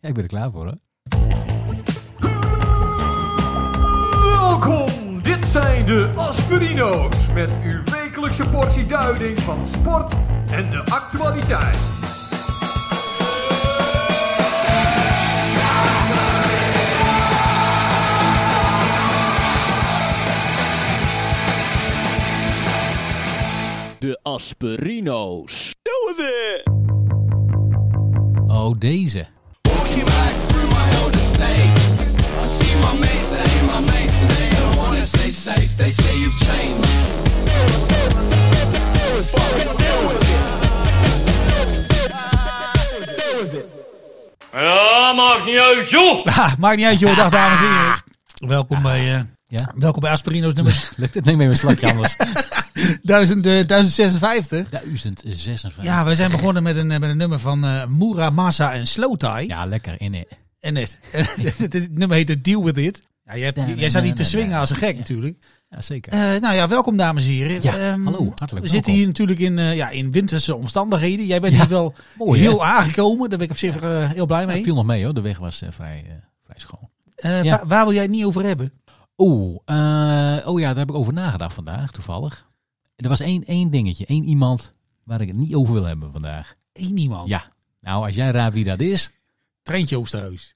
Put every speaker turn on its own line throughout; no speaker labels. Ja, ik ben er klaar voor, hè?
Welkom, dit zijn de Aspirino's met uw wekelijkse portie duiding van sport en de actualiteit.
De Asperino's.
Oh, deze.
Ja, maakt niet uit, joh!
Ha, Ah, maakt niet uit, joh. Dag, dames en heren. Welkom bij, eh,
Ja,
welkom bij Asperino's nummer
lukt het? Neem even een slakje anders.
1000, eh, 1056.
1056.
Ja, wij zijn begonnen met een, eh, met een nummer van eh Muramasa en Slotai.
Ja, lekker in het.
En het, het, het nummer heet Deal With It. Ja, jij, hebt, jij zat hier te swingen als een gek natuurlijk.
Ja, zeker.
Eh, nou ja, welkom dames en heren.
Ja,
Ehm,
hallo, hartelijk
We zitten
welkom.
hier natuurlijk in, eh, ja, in winterse omstandigheden. Jij bent hier wel
mooi, hè?
heel aangekomen. Daar ben ik op zich eh, heel blij
Ja,
mee.
viel nog mee, hoor. De weg was eh, vrij, eh, vrij schoon.
Eh,
ja.
waar, waar wil jij het niet over hebben?
Oeh, eh, oh ja, daar heb ik over nagedacht vandaag, toevallig. Er was één, één dingetje, één iemand waar ik het niet over wil hebben vandaag.
Eén iemand.
Ja. Nou, als jij raadt wie dat is,
Treintje Oosterhuis.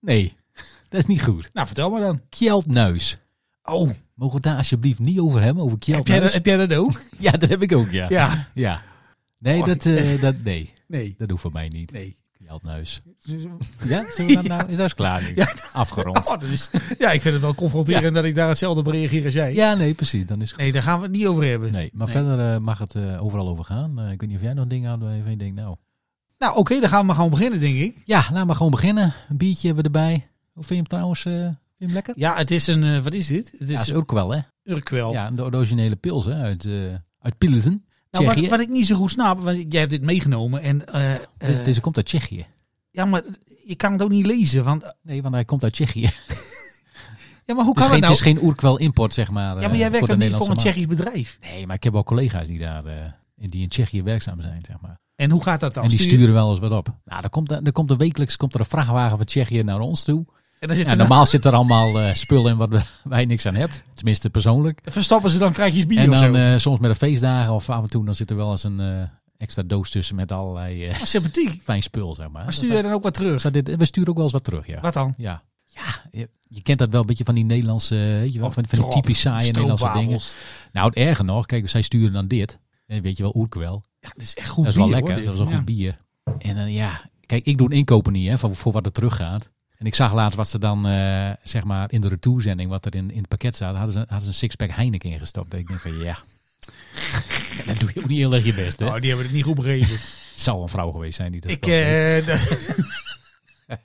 nee, dat is niet goed.
Nou, vertel maar dan.
Kjeldnuis.
Oh,
Mogen we het daar alsjeblieft niet over hebben, over
heb jij, dat,
Kjeldnuis?
heb jij dat ook?
Ja, dat heb ik ook, ja. Ja.
Ja.
Nee,
Mooi.
dat, eh, dat, nee,
Nee.
dat hoeft van mij niet.
Nee.
Kjeldnuis. Ja, zullen we dat nou? Is dat is klaar nu. Afgerond.
Oh, dat is, ja, ik vind het wel confronterend dat ik daar hetzelfde op reageer als jij.
Ja, nee, precies. Dan is het goed.
Nee, daar gaan we het niet over hebben.
Nee, maar
Nee.
verder eh, mag het eh, overal over gaan. Eh, ik weet niet of jij nog dingen aan waarvan je denkt, nou...
Nou, oké, dan gaan we maar gewoon beginnen, denk ik.
Ja, laat maar gewoon beginnen. Een biertje hebben we erbij. Hoe vind je hem trouwens? eh, vind je hem lekker?
Ja, het is een, eh, wat is dit? Het
Ja,
is
is Oh. ook wel, hè?
Urkwel.
Ja, de originele pils hè, uit, eh uit Pilsen.
nou,
Tsjechië.
wat, wat ik niet zo goed snap, want jij hebt dit meegenomen en... eh, eh,
Deze, deze komt uit Tsjechië.
Ja, maar je kan het ook niet lezen, want... eh,
Nee, want hij komt uit Tsjechië.
Ja, maar hoe
Het is geen,
kan het
het
nou?
is geen oerkwel import, zeg maar.
ja,
eh,
maar jij werkt
de
dan niet voor een
Nederlandse
Tsjechisch bedrijf.
markt. Nee, maar ik heb wel collega's die daar... eh, die in Tsjechië werkzaam zijn, zeg maar.
En hoe gaat dat dan?
en die
Stuur-
sturen wel eens wat op. Nou, dan komt, er, er komt er wekelijks komt er een vrachtwagen van Tsjechië naar ons toe.
En dan zit
Ja,
er-
normaal zit er allemaal eh spullen in wat we- wij niks aan hebben. Tenminste, persoonlijk.
Verstoppen ze dan krijg bier
En
of zo?
dan eh, soms met de feestdagen of af en toe dan zit er wel eens een eh, extra doos tussen met allerlei eh,
Oh, sympathiek.
fijn spul, zeg maar.
Maar stuur jij dan ook wat terug?
Dus dat- dit, we sturen ook wel eens wat terug, ja.
Wat dan?
Ja, ja je, je kent dat wel een beetje van die Nederlandse, eh, weet je wel,
Of
van, van die
drop,
typisch saaie Nederlandse dingen.
Oh, stroopwafels.
Nou, het erger nog, kijk, zij sturen dan dit. Eh, Weet je wel, oerkwel.
Ja, dat is echt goed
Dat is wel
bier,
lekker,
hoor, dit.
dat is wel
Ja.
goed bier. En dan ja, kijk, ik doe een inkopen niet, hè, van, voor wat er terug gaat. En ik zag laatst wat ze dan, eh, zeg maar, in de retourzending, wat er in, in het pakket zat, hadden ze, hadden ze een sixpack Heineken ingestopt. Dat ik denk van, ja, dan doe je ook niet heel erg je best, hè.
Oh, die hebben het niet goed begrepen.
Het zou een vrouw geweest zijn die dat
ik,
kocht, hè.
eh, dat-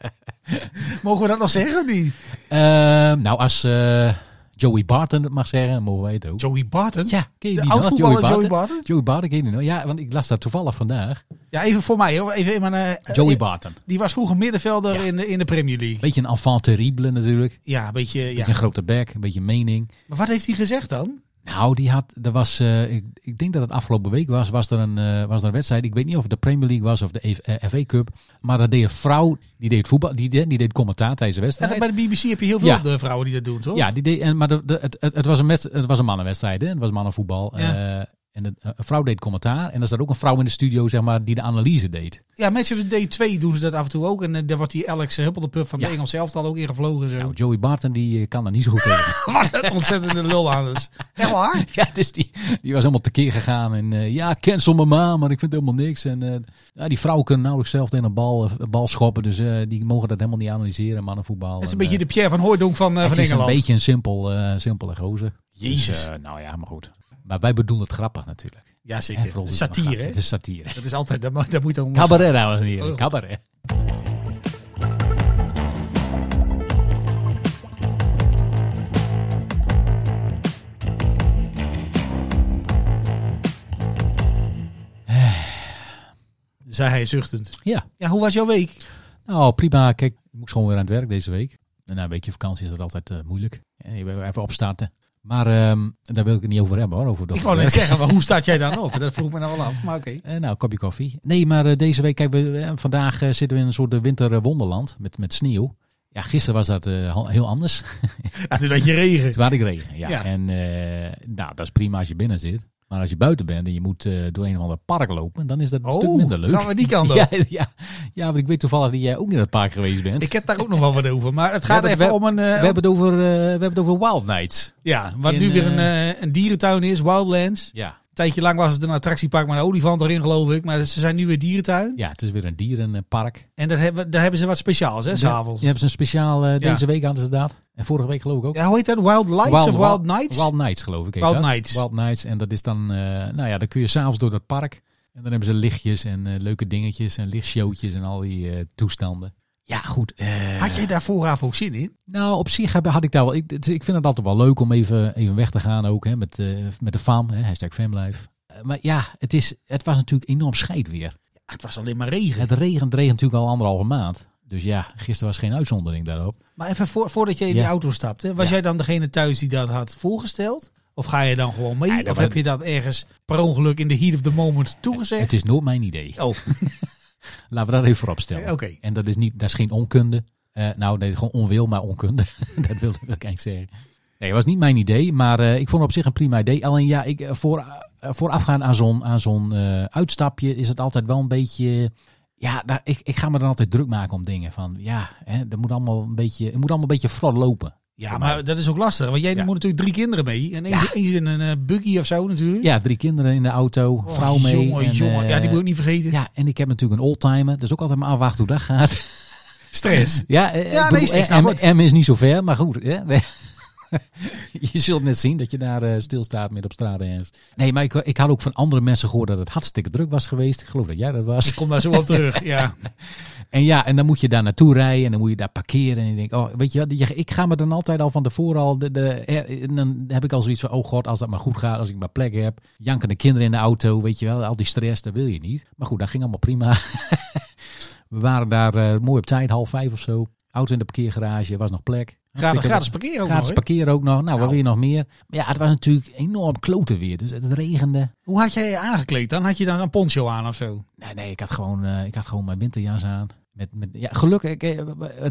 Mogen we dat nog zeggen of niet?
Ehm, nou, als eh, Joey Barton het mag zeggen, dan mogen wij het ook.
Joey Barton?
ja, ken je
de
die nog?
oud-voetballer Joey Barton?
Joey Barton, ken je die nog? Ja, want ik las dat toevallig vandaag.
Ja, even voor mij hoor. Even, maar, eh,
Joey
eh,
Barton.
Die was vroeger middenvelder
Ja.
in, de, in de Premier League.
Beetje een enfant terrible natuurlijk.
Ja, een beetje...
Beetje
Ja.
een grote bek, een beetje mening.
Maar wat heeft hij gezegd dan?
Nou, die had, er was, eh, ik, ik denk dat het afgelopen week was, was er, een, eh, was er een wedstrijd. Ik weet niet of het de Premier League was of de F- eh, FA Cup. Maar dat deed een vrouw, die deed voetbal, die, deed- die deed commentaar tijdens de
Ja,
wedstrijd.
dat- bij de BBC heb je heel veel
Ja.
eh, vrouwen die dat doen, toch?
Ja, die deed, en, maar de, de- het, het, het was een wedst- het was een mannenwedstrijd, hè? het was mannenvoetbal.
Ja.
Eh, en het- een vrouw deed commentaar en er zat ook een vrouw in de studio zeg maar, die de analyse deed.
ja Match of the Day 2 doen ze dat af en toe ook. En eh, daar wordt die Alex Huppeldepup van
Ja.
de Engels zelf al ook ingevlogen. en Zo.
Nou, Joey Barton die eh, kan daar niet zo goed tegen.
Wat een ontzettende lul aan is. Echt waar?
ja, dus die, die was helemaal tekeer gegaan en eh, ja, cancel mijn ma, maar ik vind helemaal niks. En eh, ja, die vrouwen kunnen nauwelijks zelf in een bal, eh, bal schoppen, dus eh, die mogen dat helemaal niet analyseren, mannenvoetbal.
Dat is een
En,
beetje
eh,
de Pierre van Hooijdonk van, eh,
het
van
is een
Engeland.
beetje een simpel, eh, simpele gozer.
Jezus.
Dus, eh, nou ja, maar goed. Maar wij bedoelen het grappig natuurlijk.
ja,
Hè,
zeker.
vooral dit is maar
eh, Satire,
grappig.
hè?
Het is satire.
Dat is altijd, dat, mag- dat moet dan...
Cabaret, dames en heren.
Oh.
Cabaret.
zei hij zuchtend.
Ja.
Ja, hoe was jouw week?
Nou, prima. Kijk, ik moest gewoon weer aan het werk deze week. En na een weekje vakantie is dat altijd eh, moeilijk. En je wil even opstarten. Maar ehm, daar wil ik het niet over hebben hoor. Over dat
Ik wou net
gewerk.
zeggen, maar hoe staat jij dan op? Dat vroeg ik me nou wel af, maar oké.
Eh, nou, kopje koffie. Nee, maar eh, deze week, kijk, we, eh, vandaag eh, zitten we in een soort eh, winterwonderland met, met sneeuw. Ja, gisteren was dat eh, al- heel anders.
Ja, toen had je regen.
Toen had ik regen, ja.
Ja.
En eh, nou, dat is prima als je binnen zit. Maar als je buiten bent en je moet eh, door een of ander park lopen, Oh, dan is dat een stuk minder leuk.
Oh, gaan we die kant op.
Ja, ja, ja, want ik weet toevallig dat jij ook in het park geweest bent.
Ik heb daar ook nog wel wat over, maar het
We
gaat
hebben-
even om een... eh,
we, hebben het over, eh, we hebben het over Wild Nights.
ja, wat
in,
nu weer een,
eh,
eh, een dierentuin is, Wildlands.
Ja.
Een tijdje lang was het een attractiepark met een olifant erin, geloof ik. Maar ze zijn nu weer dierentuin.
ja, het is weer een dierenpark.
En daar hebben, daar hebben ze wat speciaals, hè, s'avonds.
Je hebt een speciaal, eh,
Ja.
deze week hadden ze dat. En vorige week geloof ik ook.
Ja, hoe heet dat? Wild Lights of Wild Nights?
Wild Nights geloof ik. heet
Wild
dat.
Nights.
Wild Nights. En dat is dan, eh, nou ja, dan kun je s'avonds door dat park. En dan hebben ze lichtjes en eh, leuke dingetjes en lichtshowtjes en al die eh, toestanden. Ja, goed. eh,
Had jij daar vooraf ook zin in?
Nou, op zich heb- had ik daar wel. Ik, het- ik vind het altijd wel leuk om even, even weg te gaan ook hè, met, eh, met de fam. Hè, hashtag famlife. Eh, Maar ja, het, is, het was natuurlijk enorm scheid weer.
Ja, het was alleen maar regen.
Het regent, regent natuurlijk al anderhalve maand. Dus ja, gisteren was geen uitzondering daarop.
Maar even voor, voordat jij in
Ja.
die auto stapt, hè, was
Ja.
jij dan degene thuis die dat had voorgesteld? Of ga je dan gewoon mee?
Ja, ik heb
of heb
het-
je dat ergens per ongeluk in the heat of the moment toegezegd?
Het is nooit mijn idee.
Oh,
Laten we dat even vooropstellen.
Eh, oké.
En dat is, niet, dat is geen onkunde. Eh, nou, nee, gewoon onwil, maar onkunde. dat wilde ik ook eigenlijk zeggen. Nee, het was niet mijn idee, maar eh, ik vond het op zich een prima idee. Alleen ja, ik, eh, voor, eh, voorafgaan aan zo'n aan zo'n eh, uitstapje is het altijd wel een beetje... Ja, daar, ik, ik ga me dan altijd druk maken om dingen. Van ja, hè, dat moet allemaal een beetje, het moet allemaal een beetje vlot lopen.
ja, maar dat is ook lastig. Want jij
Ja.
moet natuurlijk drie kinderen mee. En
Ja.
eentje eentje in een eh, buggy of zo natuurlijk.
Ja, drie kinderen in de auto,
Oh,
vrouw mee.
Jongen,
en,
jongen. Ja, die
eh,
moet ik niet vergeten.
ja, en ik heb natuurlijk een oldtimer. Dus ook altijd maar afwachten hoe dat gaat.
Stress.
Ja, eh,
Ja,
ik
nee,
bedoel,
ik snap
M,
het.
M is niet zo ver, maar goed. Hè? Nee. je zult net zien dat je daar eh, stilstaat midden op straat ergens. Nee, maar ik, ik had ook van andere mensen gehoord dat het hartstikke druk was geweest. Ik geloof dat jij dat was.
Ik kom daar zo op terug. Ja.
En ja, en dan moet je daar naartoe rijden en dan moet je daar parkeren. En ik denk, oh, weet je wat, je- ik ga me dan altijd al van tevoren al... De, de, eh, en dan heb ik al zoiets van, oh god, als dat maar goed gaat, als ik maar plek heb. Jankende kinderen in de auto, weet je wel, al die stress, dat wil je niet. Maar goed, dat ging allemaal prima. We waren daar eh, mooi op tijd, half vijf of zo. Auto in de parkeergarage, was nog plek.
Gratis,
Hartstikke-
gratis parkeren ook
gratis
nog, hè?
parkeren ook nog. Nou, wat
Nou.
wil je nog meer? Maar ja, het was natuurlijk enorm klote weer. Dus het regende.
Hoe had jij je aangekleed dan? Had je dan een poncho aan of zo?
Nee, nee, ik had gewoon, eh, ik had gewoon mijn winterjas aan. Met, met, ja, gelukkig, ik, eh,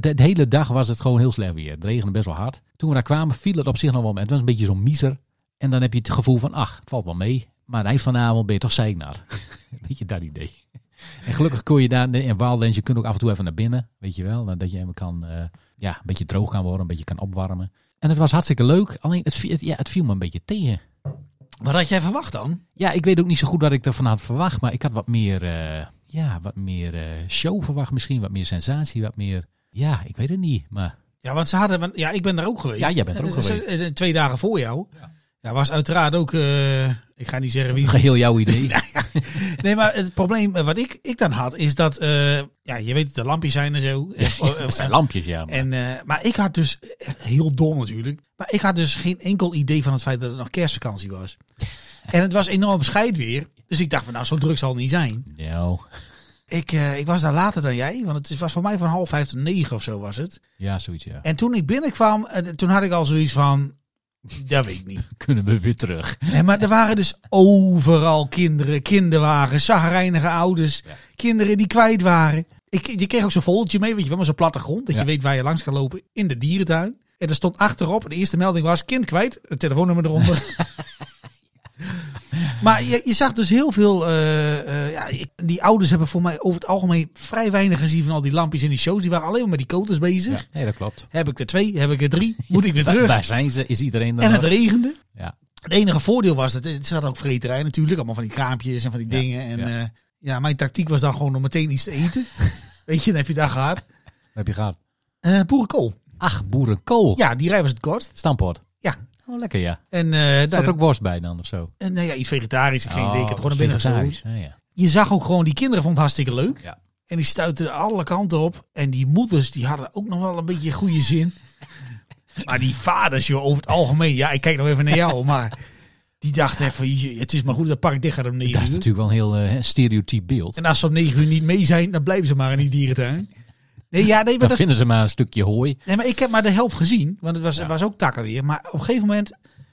de, de hele dag was het gewoon heel slecht weer. Het regende best wel hard. Toen we daar kwamen, viel het op zich nog wel mee. Het was een beetje zo'n miezer. En dan heb je het gevoel van, ach, het valt wel mee. Maar eind vanavond ben je toch zeiknat. Weet je, dat idee. En gelukkig kon je daar, in Waaldense, je kunt ook af en toe even naar binnen. Weet je wel, dat je even kan, eh, ja, een beetje droog kan worden, een beetje kan opwarmen. En het was hartstikke leuk, alleen het, viel- het- ja, het viel me een beetje tegen.
Wat had jij verwacht dan?
Ja, ik weet ook niet zo goed wat ik ervan had verwacht. Maar ik had wat meer, eh, ja, wat meer eh, show verwacht misschien. Wat meer sensatie, wat meer... Ja, ik weet het niet, maar...
Ja, want ze hadden... want- Ja, ik ben daar ook geweest.
Ja, jij bent er ook
Ze- ze- eh, Twee dagen voor jou. Ja, was uiteraard ook... eh, ik ga niet zeggen wie
Geheel jouw idee.
Nee, maar het probleem eh, wat ik, ik dan had, is dat, eh, ja, je weet, de lampjes zijn en zo. Eh,
Dat zijn
eh,
lampjes, ja. maar-
en, eh, maar ik had dus, eh, heel dom natuurlijk, maar ik had dus geen enkel idee van het feit dat het nog kerstvakantie was. En het was enorm scheid weer, dus ik dacht van nou, zo druk zal het niet zijn.
Nou,
Ik, eh, ik was daar later dan jij, want het was voor mij van half vijf tot negen of zo was het.
ja, zoiets, ja.
En toen ik binnenkwam, eh, toen had ik al zoiets van, dat weet ik niet.
Kunnen we weer terug.
Nee, maar er waren dus overal kinderen, kinderwagens, zagrijnige ouders,
Ja.
kinderen die kwijt waren. Ik, je kreeg ook zo'n foldertje mee, weet je wel, maar zo'n platte grond, dat
Ja.
je weet waar je langs kan lopen in de dierentuin. En er stond achterop, de eerste melding was, kind kwijt, het telefoonnummer eronder. maar je, je zag dus heel veel, eh, eh, ja, ik- die ouders hebben voor mij over het algemeen vrij weinig gezien van al die lampjes in die shows. Die waren alleen maar met die koters bezig.
Ja, nee, dat klopt.
Heb ik er twee, heb ik er drie, moet ik weer
Waar,
terug.
waar zijn ze? Is iedereen er
En
nog?
het regende.
Ja.
Het enige voordeel was dat het zat ook vreterij natuurlijk. Allemaal van die kraampjes en van die
Ja,
dingen. En
ja.
ja. ja, mijn tactiek was dan gewoon om meteen iets te eten. Weet je, dan heb je daar gehad.
Wat heb je gehad?
Eh boerenkool.
Ach, boerenkool.
Ja, die rij was het kortst.
Stamppot.
Ja.
Oh, lekker, ja.
En eh
Zat
daar
er ook
ook...
worst bij dan of zo? Oh,
nou ja, iets vegetarisch. Ik, geen idee. ik heb gewoon
een
naar binnen
vegetarisch.
gezocht.
Ja, ja.
Je zag ook gewoon, die kinderen vonden het hartstikke leuk.
Ja.
En die stuitten alle kanten op. En die moeders, die hadden ook nog wel een beetje goede zin. maar die vaders, joh, over het algemeen. Ja, ik kijk nog even naar jou, maar... Die dachten echt van, je- het is maar goed dat het park dicht gaat om negen
Dat is
uur.
natuurlijk wel een heel eh, stereotyp beeld.
En als ze om negen uur niet mee zijn, dan blijven ze maar in die dierentuin. Nee, ja, nee, maar,
Dan
dat,
vinden ze maar een stukje hooi.
nee, maar ik heb maar de helft gezien. Want het was,
Ja.
was ook takken weer. Maar op een gegeven moment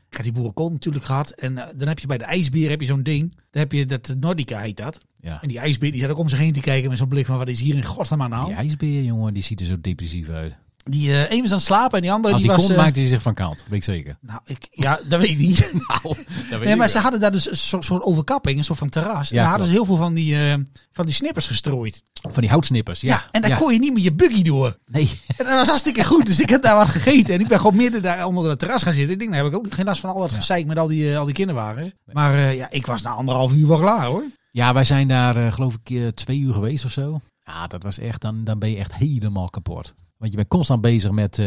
Ik had die boerenkool natuurlijk gehad. En eh, dan heb je bij de ijsbeer heb je zo'n ding. Dan heb je dat eh, Nordica heet dat.
Ja.
En die ijsbeer die zat ook om zich heen te kijken met zo'n blik van wat is hier in godsnaam aan de hand.
Die ijsbeer, jongen, die ziet er zo depressief uit.
Die eh een was aan het slapen en die andere
Als
die
die
was...
komt,
eh,
maakt hij zich van kant. Weet ik zeker.
Nou, ik, ja, dat weet ik niet.
Nou, dat weet
Nee, maar
ik
ze
wel.
hadden daar dus een soort, soort overkapping, een soort van terras. en
Ja,
daar hadden ze heel veel van die, eh, van die snippers gestrooid.
Van die houtsnippers. Ja,
Ja, en daar kon je niet met je buggy door.
Nee,
En dat was hartstikke goed. Dus ik heb daar wat gegeten. En ik ben gewoon midden daar onder het terras gaan zitten. Ik denk, daar heb ik ook geen last van al dat gezeik met al die, eh, al die kinderwagens. Maar eh, ja, ik was na anderhalf uur wel klaar hoor.
Ja, wij zijn daar eh, geloof ik eh, twee uur geweest of zo. Ja, dat was echt, dan, dan ben je echt helemaal kapot. Want je bent constant bezig met, eh,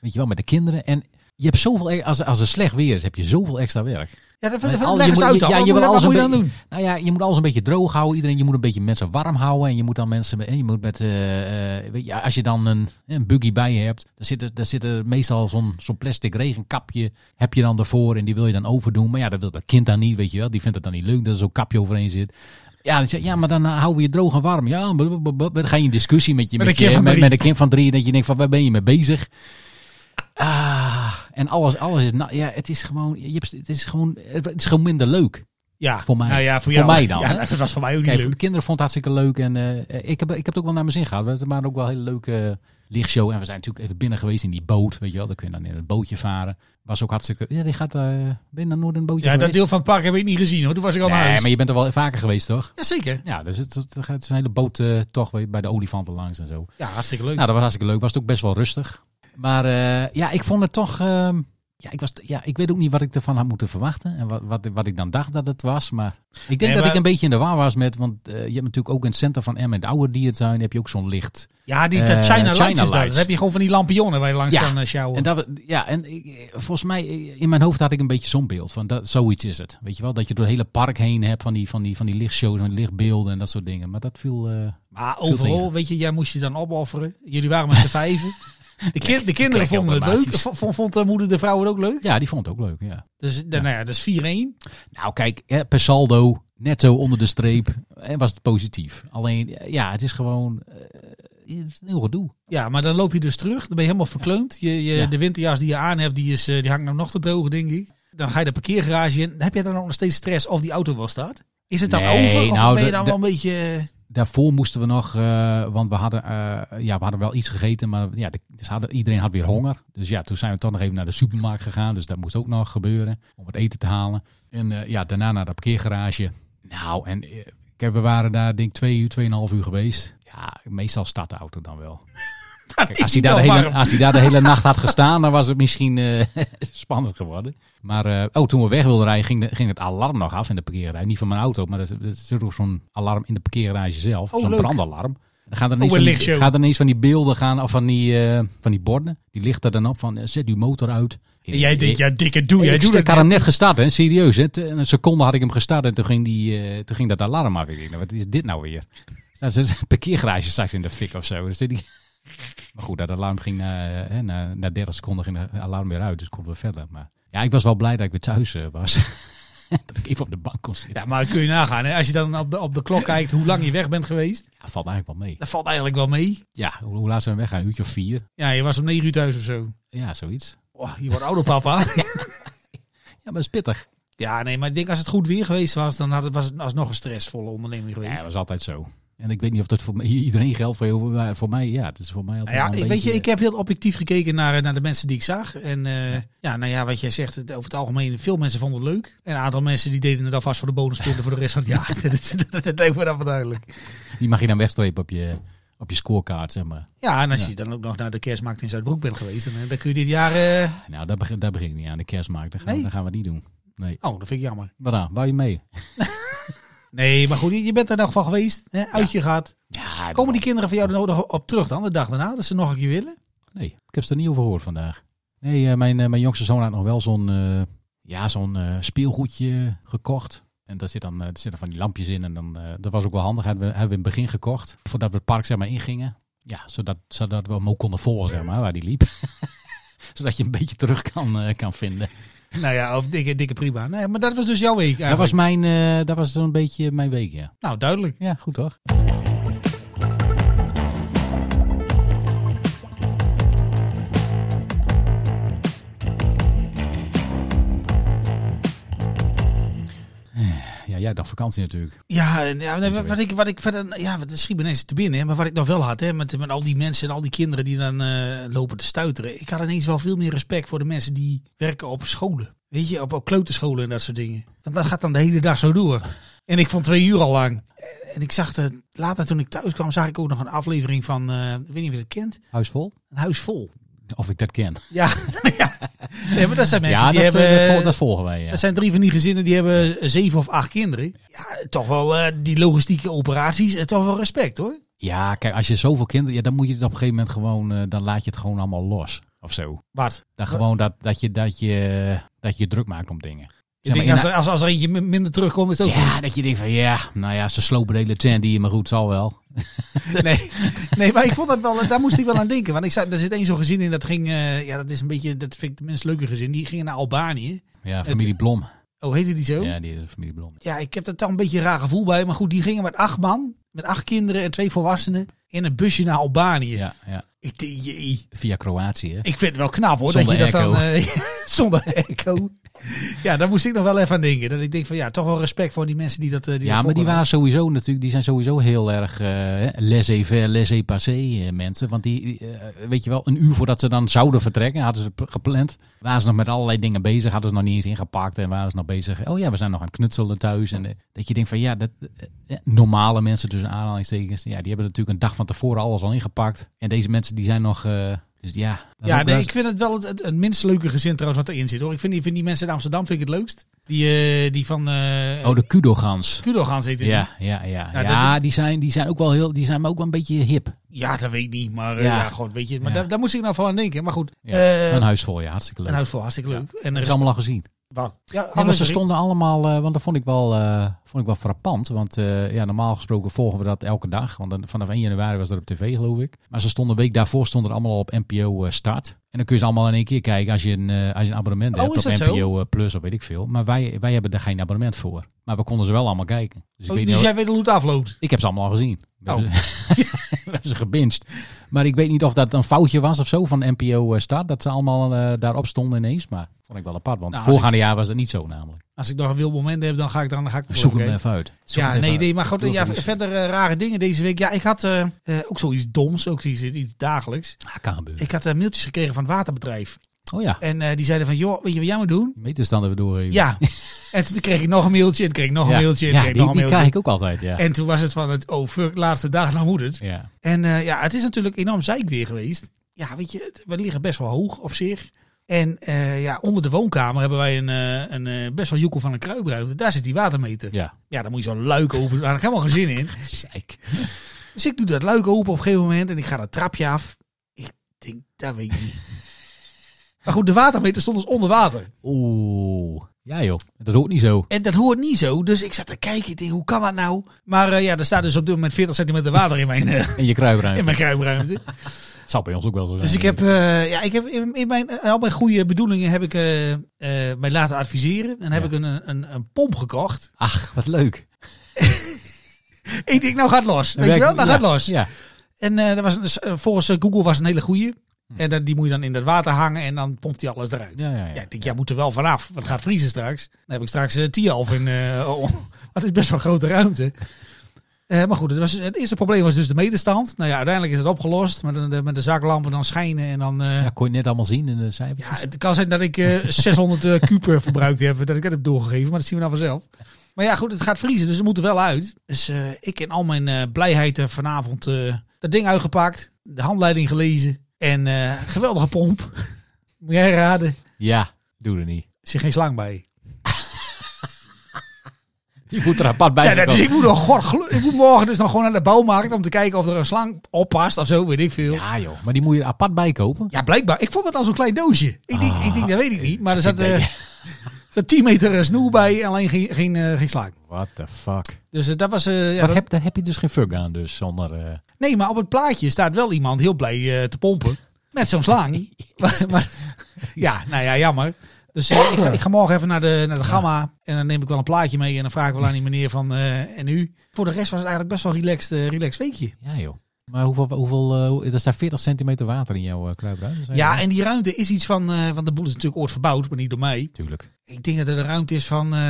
weet je wel, met de kinderen. En je hebt zoveel, e- als, als het slecht weer is, heb je zoveel extra werk.
Ja, dat,
Want
dat,
al-
leg
je
eens
moet-
uit
je-
dan.
ja,
wat
je
moet,
moet
Oh, wat
alles
moet je
een
dan doen?
Nou ja, je moet alles een beetje droog houden. Iedereen, je moet een beetje mensen warm houden. En je moet dan mensen, en je moet met, eh, eh, weet je, als je dan een, eh, een buggy bij je hebt, dan zit er, daar zit er meestal zo'n zo'n plastic regenkapje, heb je dan ervoor en die wil je dan overdoen. Maar ja, dat wil dat kind dan niet, weet je wel. Die vindt het dan niet leuk dat er zo'n kapje overheen zit. Ja, dan zeg, je, ja, maar dan eh, houden we je droog en warm. Ja, blub, blub, blub. dan ga je in discussie met je
Met
met,
een kind
je-
van
met,
drie.
met een kind van drie. Dat je denkt van waar ben je mee bezig? Ah, en alles, alles is. Nou, ja, het is gewoon. Je hebt, het, is gewoon het is gewoon minder leuk.
Ja,
Voor mij.
Nou ja, voor,
Voor
jou.
mij dan,
Ja,
hè?
dat was voor mij ook niet
Kijk, voor
leuk.
de kinderen vond het hartstikke leuk. En eh, ik, heb, ik heb het ook wel naar mijn zin gehad. We waren ook wel een hele leuke eh, lichtshow. En we zijn natuurlijk even binnen geweest in die boot. Weet je wel, dan kun je dan in het bootje varen. Was ook hartstikke. Ja, die gaat. eh ben je naar Noord in een bootje
Ja, dat
geweest?
deel van het park heb ik niet gezien hoor. Toen was ik al naar
Nee,
huis.
maar je bent er wel vaker geweest, toch?
Jazeker.
Ja, dus het, het, het is een hele boot eh, toch weer bij de olifanten langs en zo.
Ja, hartstikke leuk.
Nou, dat was hartstikke leuk. Was het ook best wel rustig. Maar eh, ja, ik vond het toch. ehm, ja, ik was, ja, ik weet ook niet wat ik ervan had moeten verwachten. En wat, wat, wat ik dan dacht dat het was. Maar ik denk dat
maar-
ik een beetje in de war was met. Want eh, je hebt natuurlijk ook in het centrum van Emmen, de oude diertuin, heb je ook zo'n licht.
ja, die, dat
eh,
China, Lights
China
is dat.
Lights.
Dat heb je gewoon van die lampionnen waar je langs
Ja.
kan eh, sjouwen.
En dat, we- ja, en ik- volgens mij eh, in mijn hoofd had ik een beetje zo'n beeld van dat, zoiets is het. Weet je wel, dat je door het hele park heen hebt van die, van die, van die lichtshows en lichtbeelden en dat soort dingen. Maar dat viel. eh,
Maar
Veel
overal,
tegen.
weet je, jij moest je dan opofferen. Jullie waren met z'n vijven. De, kind, de kinderen
klinkt heel
vonden het leuk.
dramatisch.
Vond, vond- vond de moeder de vrouw het ook leuk?
ja, die vond het ook leuk. Ja.
Dus, dan, Nou ja, dus 4-1.
Nou, kijk, hè, per saldo, netto onder de streep, en was het positief. Alleen, eh, ja, het is gewoon eh, het is een heel gedoe.
Ja, maar dan loop je dus terug. Dan ben je helemaal verkleumd. Je, je,
Ja.
De winterjas die je aan hebt, die, is, eh, die hangt nou nog te droog, denk ik. Dan ga je de parkeergarage in. Dan heb je dan ook nog steeds stress of die auto wel staat? Is het dan
Nee,
over? Of
nou,
ben je
de-
dan
de-
wel een beetje... eh,
Daarvoor moesten we nog, eh, want we hadden, eh, ja, we hadden wel iets gegeten, maar ja, de, dus hadden, iedereen had weer honger. Dus ja, toen zijn we toch nog even naar de supermarkt gegaan. Dus dat moest ook nog gebeuren om het eten te halen. En eh, ja, daarna naar de parkeergarage. Nou, en eh, kijk, we waren daar denk ik twee uur, tweeënhalf uur geweest. Ja, meestal staat de auto dan wel. Kijk, als, hij daar de hele, als hij daar de hele nacht had gestaan, dan was het misschien eh, spannend geworden. Maar eh, oh, toen we weg wilden rijden, ging, de- ging het alarm nog af in de parkeergarage. Niet van mijn auto, maar er zit- er zit ook zo'n alarm in de parkeergarage zelf.
Oh,
zo'n
leuk. Oh,
brandalarm. Dan gaan er,
een
ineens van die,
lichtshow.
gaan er ineens van die beelden gaan, of van die, eh, van die borden. Die lichten dan op van, eh, zet uw motor uit.
En jij denkt, ja, dikke doe.
Ik,
Jij
ik,
doet
ik
het
had
niet.
hem net gestart, hè, serieus. Hè. Te- Een seconde had ik hem gestart en toen ging, die, eh, toen ging dat alarm af. Ik denk, nou, wat is dit nou weer? Nou, er zit een parkeergarage straks in de fik of zo. Dus dit- maar goed, dat alarm ging na, eh, hè, na, na 30 seconden ging het alarm weer uit, dus konden we verder. Maar ja, ik was wel blij dat ik weer thuis eh, was. dat ik even op de bank kon zitten.
Ja, maar kun je nagaan. Hè? Als je dan op de, op de klok kijkt hoe lang je weg bent geweest.
Ja, valt eigenlijk wel mee.
Dat valt eigenlijk wel mee.
Ja, hoe, hoe laat zijn we weggaan? Een uurtje of vier?
Ja, je was om negen uur thuis of zo.
Ja, zoiets.
Oh, je wordt ouder papa.
Ja, maar dat is pittig.
ja, nee, maar ik denk als het goed weer geweest was, dan had het, was het alsnog een stressvolle onderneming
Ja,
geweest.
dat is altijd zo. En ik weet niet of dat voor mij- iedereen geldt voor, jou, maar voor mij. Ja, het is voor mij altijd
Nou ja,
wel
ik,
een
weet je,
beetje-
ik heb heel objectief gekeken naar, eh, naar de mensen die ik zag. En eh, ja. nou ja, wat jij zegt, het- over het algemeen, veel mensen vonden het leuk. En een aantal mensen die deden het alvast voor de bonuspunten voor de rest van het jaar. dat, dat, dat leek me dan wel duidelijk.
Die mag je dan wegstrepen op je, op je scorekaart, zeg maar.
Ja, en als
Ja.
je dan ook nog naar de kerstmarkt in Zuidbroek bent geweest, dan, eh, dan kun je dit jaar... eh,
Nou, daar begin, daar begin ik niet aan. De kerstmarkt, daar gaan,
Nee.
daar gaan we het niet doen.
Oh, dat vind ik jammer.
Wat dan? Wou je mee?
Nee, maar goed, je je bent er nog van geweest, hè, uit je gaat.
Ja,
Komen die kinderen van jou er nodig op terug dan, de dag daarna, dat ze nog een keer willen?
Nee, ik heb ze er niet over gehoord vandaag. Nee, eh, mijn, eh, mijn jongste zoon had nog wel zo'n eh, ja, zo'n eh, speelgoedje gekocht. En daar zit dan, eh, er zitten van die lampjes in. En dan, eh, dat was ook wel handig. Hebben we, hebben we in het begin gekocht. Voordat we het park zeg maar ingingen. Ja, zodat, zodat we hem ook konden volgen, zeg maar, waar die liep. zodat je een beetje terug kan, eh, kan vinden.
Nou ja, of dikke, dikke prima. Nee, maar dat was dus jouw week
Dat
eigenlijk.
was, mijn, eh, dat was zo'n beetje mijn week, ja.
Nou, duidelijk.
Ja, goed toch? jij nog vakantie natuurlijk.
Ja, en ja nee,
Deze
wat, wat
week.
ik, wat ik verder, ja, wat schiet me ineens te binnen. Hè, maar wat ik nog wel had, hè, met, met al die mensen en al die kinderen die dan eh, lopen te stuiteren. Ik had ineens wel veel meer respect voor de mensen die werken op scholen. Weet je, op, op kleuterscholen en dat soort dingen. Want dat gaat dan de hele dag zo door. En ik vond twee uur al lang. En ik zag het, later toen ik thuis kwam, zag ik ook nog een aflevering van, eh, ik weet niet of je het kent,
Huisvol?
Een Huis Vol.
Of ik dat ken.
Ja, ja. Nee, maar dat zijn mensen
ja,
die
dat, eh,
hebben...
dat, vol- dat volgen wij. Ja.
Dat zijn drie van die gezinnen die hebben zeven of acht kinderen. Ja, toch wel eh, die logistieke operaties. eh, toch wel respect hoor.
ja, kijk, als je zoveel kinderen... Ja, dan moet je het op een gegeven moment gewoon... eh, dan laat je het gewoon allemaal los. Of zo.
Wat?
Dan gewoon dat, dat, je, dat, je, dat je druk maakt om dingen.
Ik
Zeg maar,
denk,
in
als, er- als, als er eentje min- minder terugkomt, is het ook
Ja, dat je denkt van ja, nou ja, ze slopen de hele tent hier, maar goed, zal wel.
goed. Nee, nee, maar ik vond dat wel, daar moest ik wel aan denken. Want ik zat, er zit één zo'n gezin in, dat ging, eh, ja, dat is een beetje, dat vind ik de minst leuke gezin. Die gingen naar Albanië.
Ja, familie Blom.
Oh, heette die zo? Ja,
Ja, die eh, familie Blom.
ik heb er toch een beetje een raar gevoel bij. Maar goed, die gingen met acht man, met acht kinderen en twee volwassenen, in een busje naar Albanië.
Ja, ja.
Ik, denk, jee.
Via Kroatië. hè?
Ik vind het wel knap hoor.
Zonder
dat je dat dan,
echo.
eh, zonder echo. Ja, daar moest ik nog wel even aan denken. Dat ik denk van ja, toch wel respect voor die mensen die dat. eh, Die
Ja, maar
dat
die
volgen.
waren sowieso natuurlijk, die zijn sowieso heel erg eh laissez-faire, laissez-passer eh, mensen. Want die, die, eh, weet je wel, een uur voordat ze dan zouden vertrekken, hadden ze p- gepland. Waren ze nog met allerlei dingen bezig, hadden ze nog niet eens ingepakt en waren ze nog bezig. Oh ja, we zijn nog aan het knutselen thuis. En eh, dat je denkt van ja, dat, eh, eh, normale mensen tussen aanhalingstekens, ja, die hebben natuurlijk een dag van tevoren alles al ingepakt. En deze mensen die zijn nog, eh, dus ja. dat is
Ja,
ook
nee,
wel-
ik vind het wel het, het, het minst leuke gezin trouwens wat erin zit hoor. Ik vind die, vind die mensen in Amsterdam vind ik het leukst. Die, eh, die van. eh
Oh, de Kudogans.
Kudo gaan zitten.
Ja, ja, ja.
Ja,
Ja,
Nou, dat-
die, zijn, die zijn ook wel heel, die zijn maar ook wel een beetje hip.
ja, dat weet ik niet. Maar eh, ja.
Ja.
gewoon weet je. Maar
Ja.
daar, daar moest ik nou van aan denken. Maar goed.
Ja,
eh,
een huisvol, ja, hartstikke leuk.
een huis voor hartstikke leuk. En
Dat
er
is
is
allemaal al gezien.
wat. Ja,
Ja, maar ze
alles erin.
stonden allemaal, eh, want dat vond ik wel, eh, vond ik wel frappant. Want eh, ja, normaal gesproken volgen we dat elke dag. Want dan, vanaf 1 januari was dat op tv, geloof ik. Maar ze stonden een week daarvoor stonden er allemaal al op NPO eh, Start. En dan kun je ze allemaal in één keer kijken als je een, eh, als je een abonnement
Oh, is
hebt op
dat zo?
NPO eh, Plus of weet ik veel. Maar wij, wij hebben daar geen abonnement voor. Maar we konden ze wel allemaal kijken. Dus ik,
Oh,
weet
dus
niet,
jij weet hoe het afloopt.
ik heb ze allemaal al gezien. We
Oh.
hebben ze- we hebben ze gebinged. Maar ik weet niet of dat een foutje was of zo van NPO eh, Start. Dat ze allemaal eh, daarop stonden ineens. Maar vond ik wel apart. Want
Nou, als
voorgaande jaar was dat niet zo namelijk.
Als ik nog een wil moment heb, dan ga ik dan, dan ga ik
Zoek hem
kijken.
even uit. Zoek
Ja,
hem even
nee,
uit.
nee, maar goed,
Proef
ja,
hem eens.
verder eh, rare dingen deze week. Ja, ik had eh, eh, ook zoiets doms, ook iets, iets dagelijks.
Ah, kan gebeuren.
Ik had eh, mailtjes gekregen van het waterbedrijf.
Oh ja,
En eh, die zeiden van, joh, weet je wat jij moet doen?
die meterstanden we doorgeven.
Ja. en toen kreeg ik nog een mailtje, en toen kreeg ik nog een mailtje, en toen
Ja,
kreeg ik
die,
nog een
die
mailtje.
krijg ik ook altijd, ja.
En toen was het van, het, oh fuck, laatste dag, nou moet het.
ja.
En eh, ja, het is natuurlijk enorm zeik weer geweest. Ja, weet je, het- we liggen best wel hoog op zich. En eh, ja, onder de woonkamer hebben wij een, eh, een eh, best wel joekel van een kruipruimte. Daar zit die watermeter. Ja,
Ja.
dan moet je zo'n luik open doen. Daar heb ik helemaal geen zin in.
Zeik.
Dus ik doe dat luik open op een gegeven moment en ik ga dat trapje af. Ik denk, dat weet ik niet. maar goed, de watermeter stond dus onder water.
Oeh. Ja joh, dat hoort niet zo.
En dat hoort niet zo, dus ik zat te kijken. Ik denk, hoe kan dat nou? Maar eh, ja, er staat dus op dit moment 40 centimeter water in mijn, eh,
En je
in
kruipruimte.
mijn kruipruimte.
Dat zal bij ons ook wel zo zijn.
Dus ik heb, eh, ja, ik heb in, in mijn, eh, al mijn goede bedoelingen heb ik eh, eh, mij laten adviseren. En heb
Ja.
ik een, een, een pomp gekocht.
Ach, wat leuk.
Ik denk, nou gaat los. Weet je
Werkt-
wel, nou
ja,
gaat los.
Ja.
En eh, dat was, een- dus, eh, volgens eh, Google was het een hele goeie. En dat- die moet je dan in dat water hangen en dan pompt hij alles eruit.
Hm. Ja, ja, ja.
Ja, ik denk, jij moet er wel vanaf, want het gaat vriezen straks. Dan heb ik straks eh, 10,5 in. eh oh, dat is best wel een grote ruimte. Eh, maar goed, het, was, het eerste probleem was dus de meterstand. Nou ja, uiteindelijk is het opgelost met, een- met de zaklampen dan schijnen en dan... eh,
Ja,
ja.
kon je net allemaal zien in de cijfers.
het kan zijn dat ik eh, 600 eh, kuub verbruikt heb, dat ik dat heb doorgegeven, maar dat zien we nou vanzelf. Maar ja, goed, het gaat vriezen, dus het moet er wel uit. Dus eh, ik in al mijn eh, blijheid eh, vanavond eh, dat ding uitgepakt, de handleiding gelezen en eh, geweldige pomp. Moet jij raden, er
Ja, doe er niet.
zit geen slang bij.
Je moet er apart bij
Ja, dat-
komen.
dus ik moet, nog, god, gelu- ik moet morgen dus nog gewoon naar de bouwmarkt om te kijken of er een slang op past of zo, weet ik veel. Ja,
Ja joh, maar die moet je er apart bij kopen.
blijkbaar. Ik vond het al zo'n klein doosje. Ik denk, ik denk, dat weet ik niet. Maar er
Als ik
zat, eh,
denk,
zat 10 meter eh, snoer bij, alleen geen, geen, eh, geen slang.
What the fuck.
Dus eh, dat was... eh, ja,
Maar
dat-
heb, daar heb je dus geen fuck aan dus, zonder... eh,
Nee, maar op het plaatje staat wel iemand heel blij eh, te pompen. Met zo'n slang. Maar- maar- ja, nou ja, jammer. Dus eh, ik, ga, ik ga morgen even naar de, naar de gamma. En dan neem ik wel een plaatje mee. En dan vraag ik wel aan die meneer van... eh, en u? Voor de rest was het eigenlijk best wel een relaxed, eh, relaxed weekje.
Ja joh. Maar hoeveel, hoeveel eh, hoe- er staat 40 centimeter water in jouw eh, kruipruimte. zei je?
Ja, en die ruimte is iets van, eh, want de boel is natuurlijk ooit verbouwd, maar niet door mij.
Tuurlijk.
Ik denk dat het een ruimte is van, eh,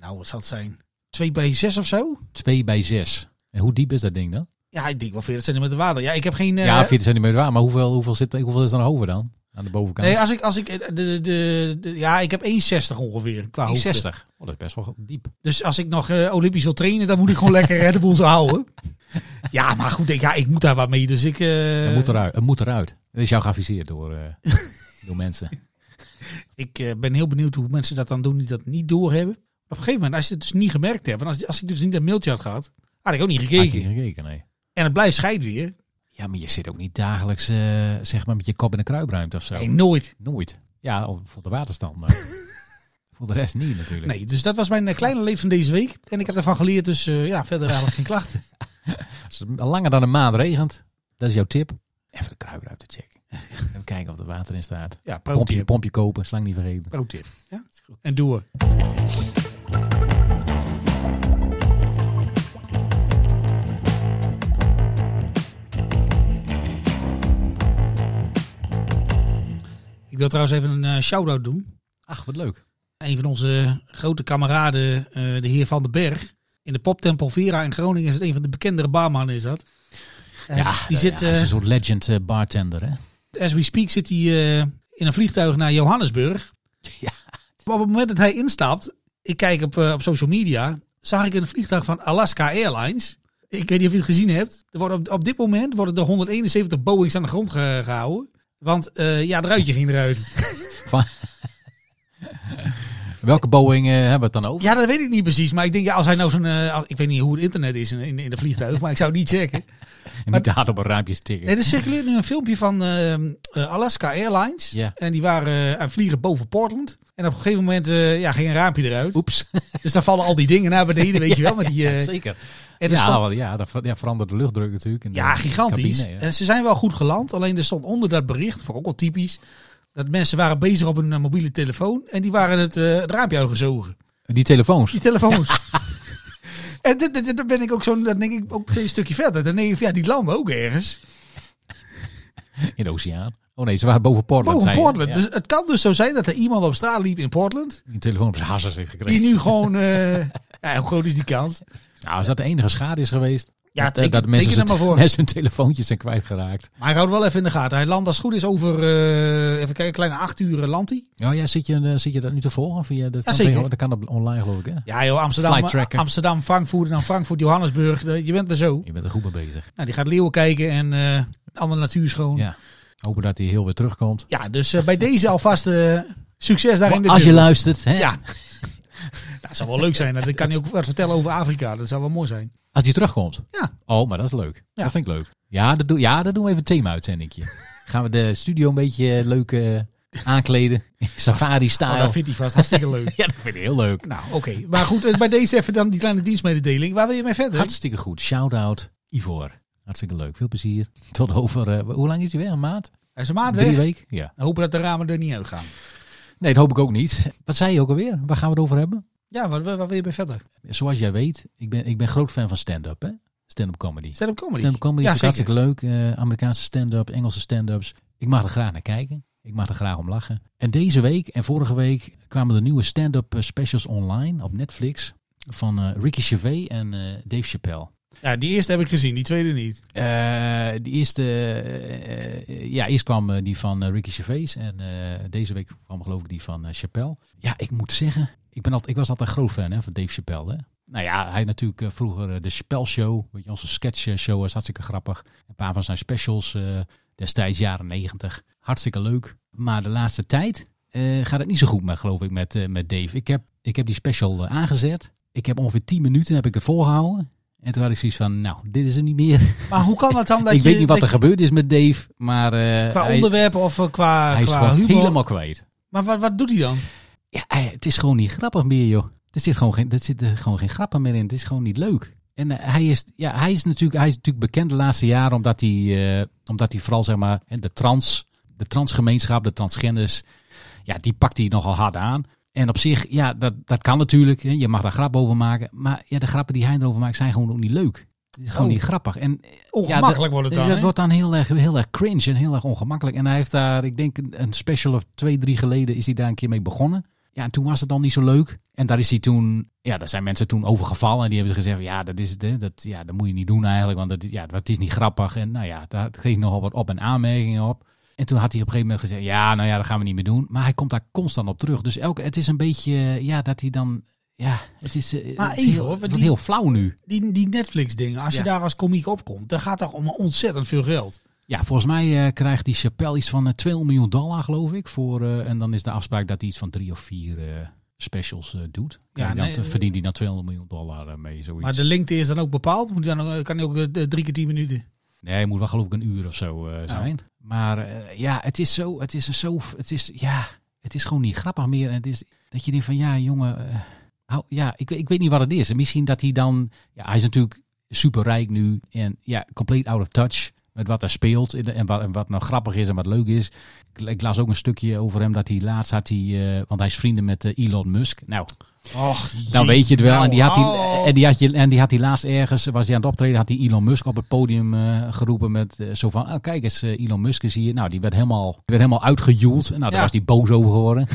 nou wat zal het zijn? 2 bij 6 of zo.
2 bij 6. En hoe diep is dat ding dan?
Ja, ik denk wel 40 centimeter water. Ja, ik heb geen... eh,
ja, 40 centimeter waar. Maar hoeveel, hoeveel, zit, hoeveel is er nog over dan? Aan de bovenkant?
Nee, als ik, als ik eh, de, de, de- de- ja, ik heb 1,60 ongeveer qua hoogte.
60. Oh, dat is best wel diep.
Dus als ik nog eh, Olympisch wil trainen, dan moet ik gewoon lekker eh, de boel zo houden. Ja, maar goed, ik, ja, ik moet daar wat mee. Dus ik, eh,
Het moet eruit. Het moet eruit. Dat is jou geadviseerd door, eh, door mensen.
ik eh, ben heel benieuwd hoe mensen dat dan doen die dat niet doorhebben. Op een gegeven moment, als je het dus niet gemerkt hebt, en als, als ik dus niet dat mailtje had gehad, had ik ook niet
Had
gekeken.
je niet gekeken, nee.
En het blijft scheid weer.
Ja, maar je zit ook niet dagelijks eh, zeg maar met je kop in de kruipruimte of zo.
Nee, nooit.
Nooit. Ja, oh, voor de waterstand, maar voor de rest niet natuurlijk.
Nee, dus dat was mijn eh, kleine leven van deze week. En ik heb ervan geleerd, dus eh, ja, verder eigenlijk geen klachten.
Als het langer dan een maand regent, dat is jouw tip. Even de kruipruimte checken. Even kijken of er water in staat.
Ja,
Pompje,
pro-tip.
pompje kopen, slang niet vergeten.
Pro-tip. Ja? En door. Ik wil trouwens even een eh, shout-out doen.
Ach, wat leuk.
Een van onze grote kameraden, eh, de heer Van den Berg. In de poptempel Vera in Groningen is het een van de bekendere baarmannen is dat. Eh, die
eh,
zit,
ja, hij is
eh,
een soort legend eh, bartender, hè?
as we speak zit hij eh, in een vliegtuig naar Johannesburg.
Ja.
Maar op het moment dat hij instapt, ik kijk op, eh, op social media, zag ik een vliegtuig van Alaska Airlines. Ik weet niet of je het gezien hebt. Er worden op, op dit moment worden er 171 Boeings aan de grond ge- gehouden. Want eh, ja, het ruitje ging eruit.
Welke Boeing eh, hebben we het dan over?
Ja, dat weet ik niet precies. Maar ik denk, ja, als hij nou zo'n... eh, als- ik weet niet hoe het internet is in, in, in de vliegtuig, maar ik zou het niet checken.
en niet te hard op een raampje stikken.
Nee, er circuleert nu een filmpje van ehm, eh, Alaska Airlines.
Ja.
En die waren eh, aan het vliegen boven Portland. En op een gegeven moment eh, ja, ging een raampje eruit.
Oeps.
Dus dan vallen al die dingen naar beneden, weet je wel. Met die, eh,
Ja, zeker.
en er
ja,
stond-
wel, ja, dat ver- ja, verandert de luchtdruk natuurlijk. in de
ja, gigantisch.
cabine, ja.
En ze zijn wel goed geland. Alleen er stond onder dat bericht, voor ook wel typisch, dat mensen waren bezig op hun eh, mobiele telefoon. En die waren het, eh het raampje uitgezogen.
Die telefoons.
Die telefoons. En dit- dit- dit- dan ben ik ook zo'n, dan denk ik ook meteen een stukje verder. Dan denk ik, van, ja, die landen ook ergens.
In de oceaan. Oh nee, ze waren boven Portland.
Boven
zei je.
Portland.
Ja.
Dus het kan dus zo zijn dat er iemand op straat liep in Portland.
Die een telefoon op zijn hassers heeft gekregen.
Die nu gewoon, eh, ja, hoe groot is die kans?
Nou, als dat de enige schade is geweest.
Ja,
dat, eh,
teken-
dat mensen,
teken er
zijn-
maar voor.
mensen hun telefoontjes zijn kwijtgeraakt.
Maar hij houdt wel even in de gaten. Hij landt als het goed is over, eh, even kijken, kleine acht uur eh, landt hij.
Oh ja, zit je, eh, zit je dat nu te volgen? Via, dat, kan
zeker.
tegenwoordig- dat kan op online geloof ik, hè?
Ja joh, Amsterdam,
Flight tracker.
Amsterdam, Frankfurt en dan Frankfurt, Johannesburg. Je bent er zo.
Je bent er goed mee bezig.
Nou, die gaat leeuwen kijken en eh andere natuur schoon. Ja,
Ja. Hopen dat hij heel weer terugkomt.
dus eh, bij deze alvast eh, succes daar in de
Als je
jungle.
luistert, hè?
Ja. dat Nou, zou wel leuk zijn. Dat kan je ook wat vertellen over Afrika. Dat zou wel mooi zijn.
Als hij terugkomt.
Ja.
Oh, maar dat is leuk.
Ja.
Dat vind ik leuk. Ja, dat, doe, ja, dat doen we even een thema uitzendingje. Gaan we de studio een beetje eh, leuk eh, aankleden. Safari-style.
Oh, dat vindt hij vast hartstikke leuk.
Ja, dat vind ik heel leuk.
nou, oké. Maar goed, eh, bij deze even dan die kleine dienstmededeling. Waar wil je mee verder?
Hartstikke goed. Shout-out Ivor. Hartstikke leuk. Veel plezier. Tot over... eh, hoe lang is hij weer? Een maand?
Hij is een maand
Drie
weg.
weken? Ja.
Hopen dat de ramen er niet uit gaan.
Nee, dat hoop ik ook niet. Wat zei je ook alweer? Waar gaan we het over hebben?
Ja, waar, waar waar wil je mee verder?
Zoals jij weet, ik ben, ik ben groot fan van stand-up. hè? Stand-up comedy.
Stand-up comedy.
Stand-up comedy
ja,
vind ik
zeker.
hartstikke leuk. Eh, Amerikaanse stand-up, Engelse stand-ups. Ik mag er graag naar kijken. Ik mag er graag om lachen. En deze week en vorige week kwamen de nieuwe stand-up eh, specials online op Netflix. Van eh, Ricky Gervais en eh, Dave Chappelle.
Ja, die eerste heb ik gezien, die tweede niet.
Eh, de eerste, eh, eh, ja, eerst kwam eh, die van eh, Ricky Gervais en eh, deze week kwam geloof ik die van eh, Chappelle. Ja, ik moet zeggen, ik, ben altijd, ik was altijd een groot fan hè, van Dave Chappelle. Hè. Nou ja, hij natuurlijk eh, vroeger eh, de Chappelle Show, weet je, onze sketch eh, show was hartstikke grappig. Een paar van zijn specials eh, destijds jaren negentig, hartstikke leuk. Maar de laatste tijd eh, gaat het niet zo goed met, geloof ik, met, eh, met Dave. Ik heb, ik heb die special eh, aangezet. Ik heb ongeveer 10 minuten heb ik het volgehouden. En toen had ik zoiets van, nou, dit is er niet meer
Maar hoe kan dat dan dat
ik
je...
weet niet wat er
dat je-
gebeurd is met Dave, maar eh,
Qua
hij,
onderwerpen of eh, qua,
hij is
qua
gewoon
humor.
helemaal kwijt.
Maar wat, wat doet hij dan?
Ja, eh, het is gewoon niet grappig meer, joh. Er zit gewoon geen, er zit eh, gewoon geen grappen meer in. Het is gewoon niet leuk. En eh, hij, is, ja, hij, is natuurlijk, hij is natuurlijk bekend de laatste jaren omdat hij, eh, omdat hij vooral zeg maar, hè, de trans, de transgemeenschap, de transgenders, ja, die pakt hij nogal hard aan. En op zich, ja, dat, dat kan natuurlijk. hè, Je mag daar grap over maken. Maar ja, de grappen die hij erover maakt zijn gewoon ook niet leuk. Het is gewoon
Oh.
niet grappig. En
Ongemakkelijk wordt het
Dus
dan,
dat
hè?
wordt dan heel erg, heel erg cringe en heel erg ongemakkelijk. En hij heeft daar, ik denk, een- een special of twee, drie geleden is hij daar een keer mee begonnen. Ja, en toen was het dan niet zo leuk. En daar is hij toen, ja, daar zijn mensen toen overgevallen. En die hebben gezegd, ja, dat is het, hè. Dat, ja, dat moet je niet doen eigenlijk, want dat, ja, dat- het is niet grappig. En nou ja, daar kreeg ik nogal wat op- en aanmerkingen op. En toen had hij op een gegeven moment gezegd, ja, nou ja, dat gaan we niet meer doen. Maar hij komt daar constant op terug. Dus elke, het is een beetje, eh, ja, dat hij dan, ja, het is, eh,
Maar
het is
even,
heel,
hoor, want
wordt
die-
heel flauw nu.
Die, die Netflix-dingen, als
Ja.
je daar als komiek opkomt, dan gaat toch om ontzettend veel geld.
Ja, volgens mij eh, krijgt die Chappelle iets van eh, 2 miljoen dollar, geloof ik. Voor, eh, en dan is de afspraak dat hij iets van drie of vier eh, specials eh, doet.
Ja,
Ja, dan
nee, eh,
verdient hij dan 200 miljoen dollar eh, mee, zoiets.
Maar de lengte is dan ook bepaald. Moet die dan ook, kan die ook eh, drie keer tien minuten.
Nee, het moet wel geloof ik een uur of zo eh, zijn. Maar eh, ja, het is zo, het is zo, het is, ja, het is gewoon niet grappig meer. En het is dat je denkt van, ja jongen, eh, hou- ja, ik, ik weet niet wat het is. En misschien dat hij dan, ja, hij is natuurlijk superrijk nu en ja, compleet out of touch met wat er speelt en, en, wat, en wat nou grappig is en wat leuk is. Ik, ik las ook een stukje over hem dat hij laatst had hij, eh, want hij is vrienden met eh, Elon Musk. Nou,
Och,
dan
jee.
weet je het wel.
Nou,
En die had
oh.
hij, en die had je, en die had hij laatst ergens, was hij aan het optreden, had hij Elon Musk op het podium eh, geroepen met eh, zo van, ah, kijk eens, eh, Elon Musk is hier. Nou, die werd helemaal, die werd helemaal uitgejoeld. Nou, daar
Ja.
was hij boos over geworden.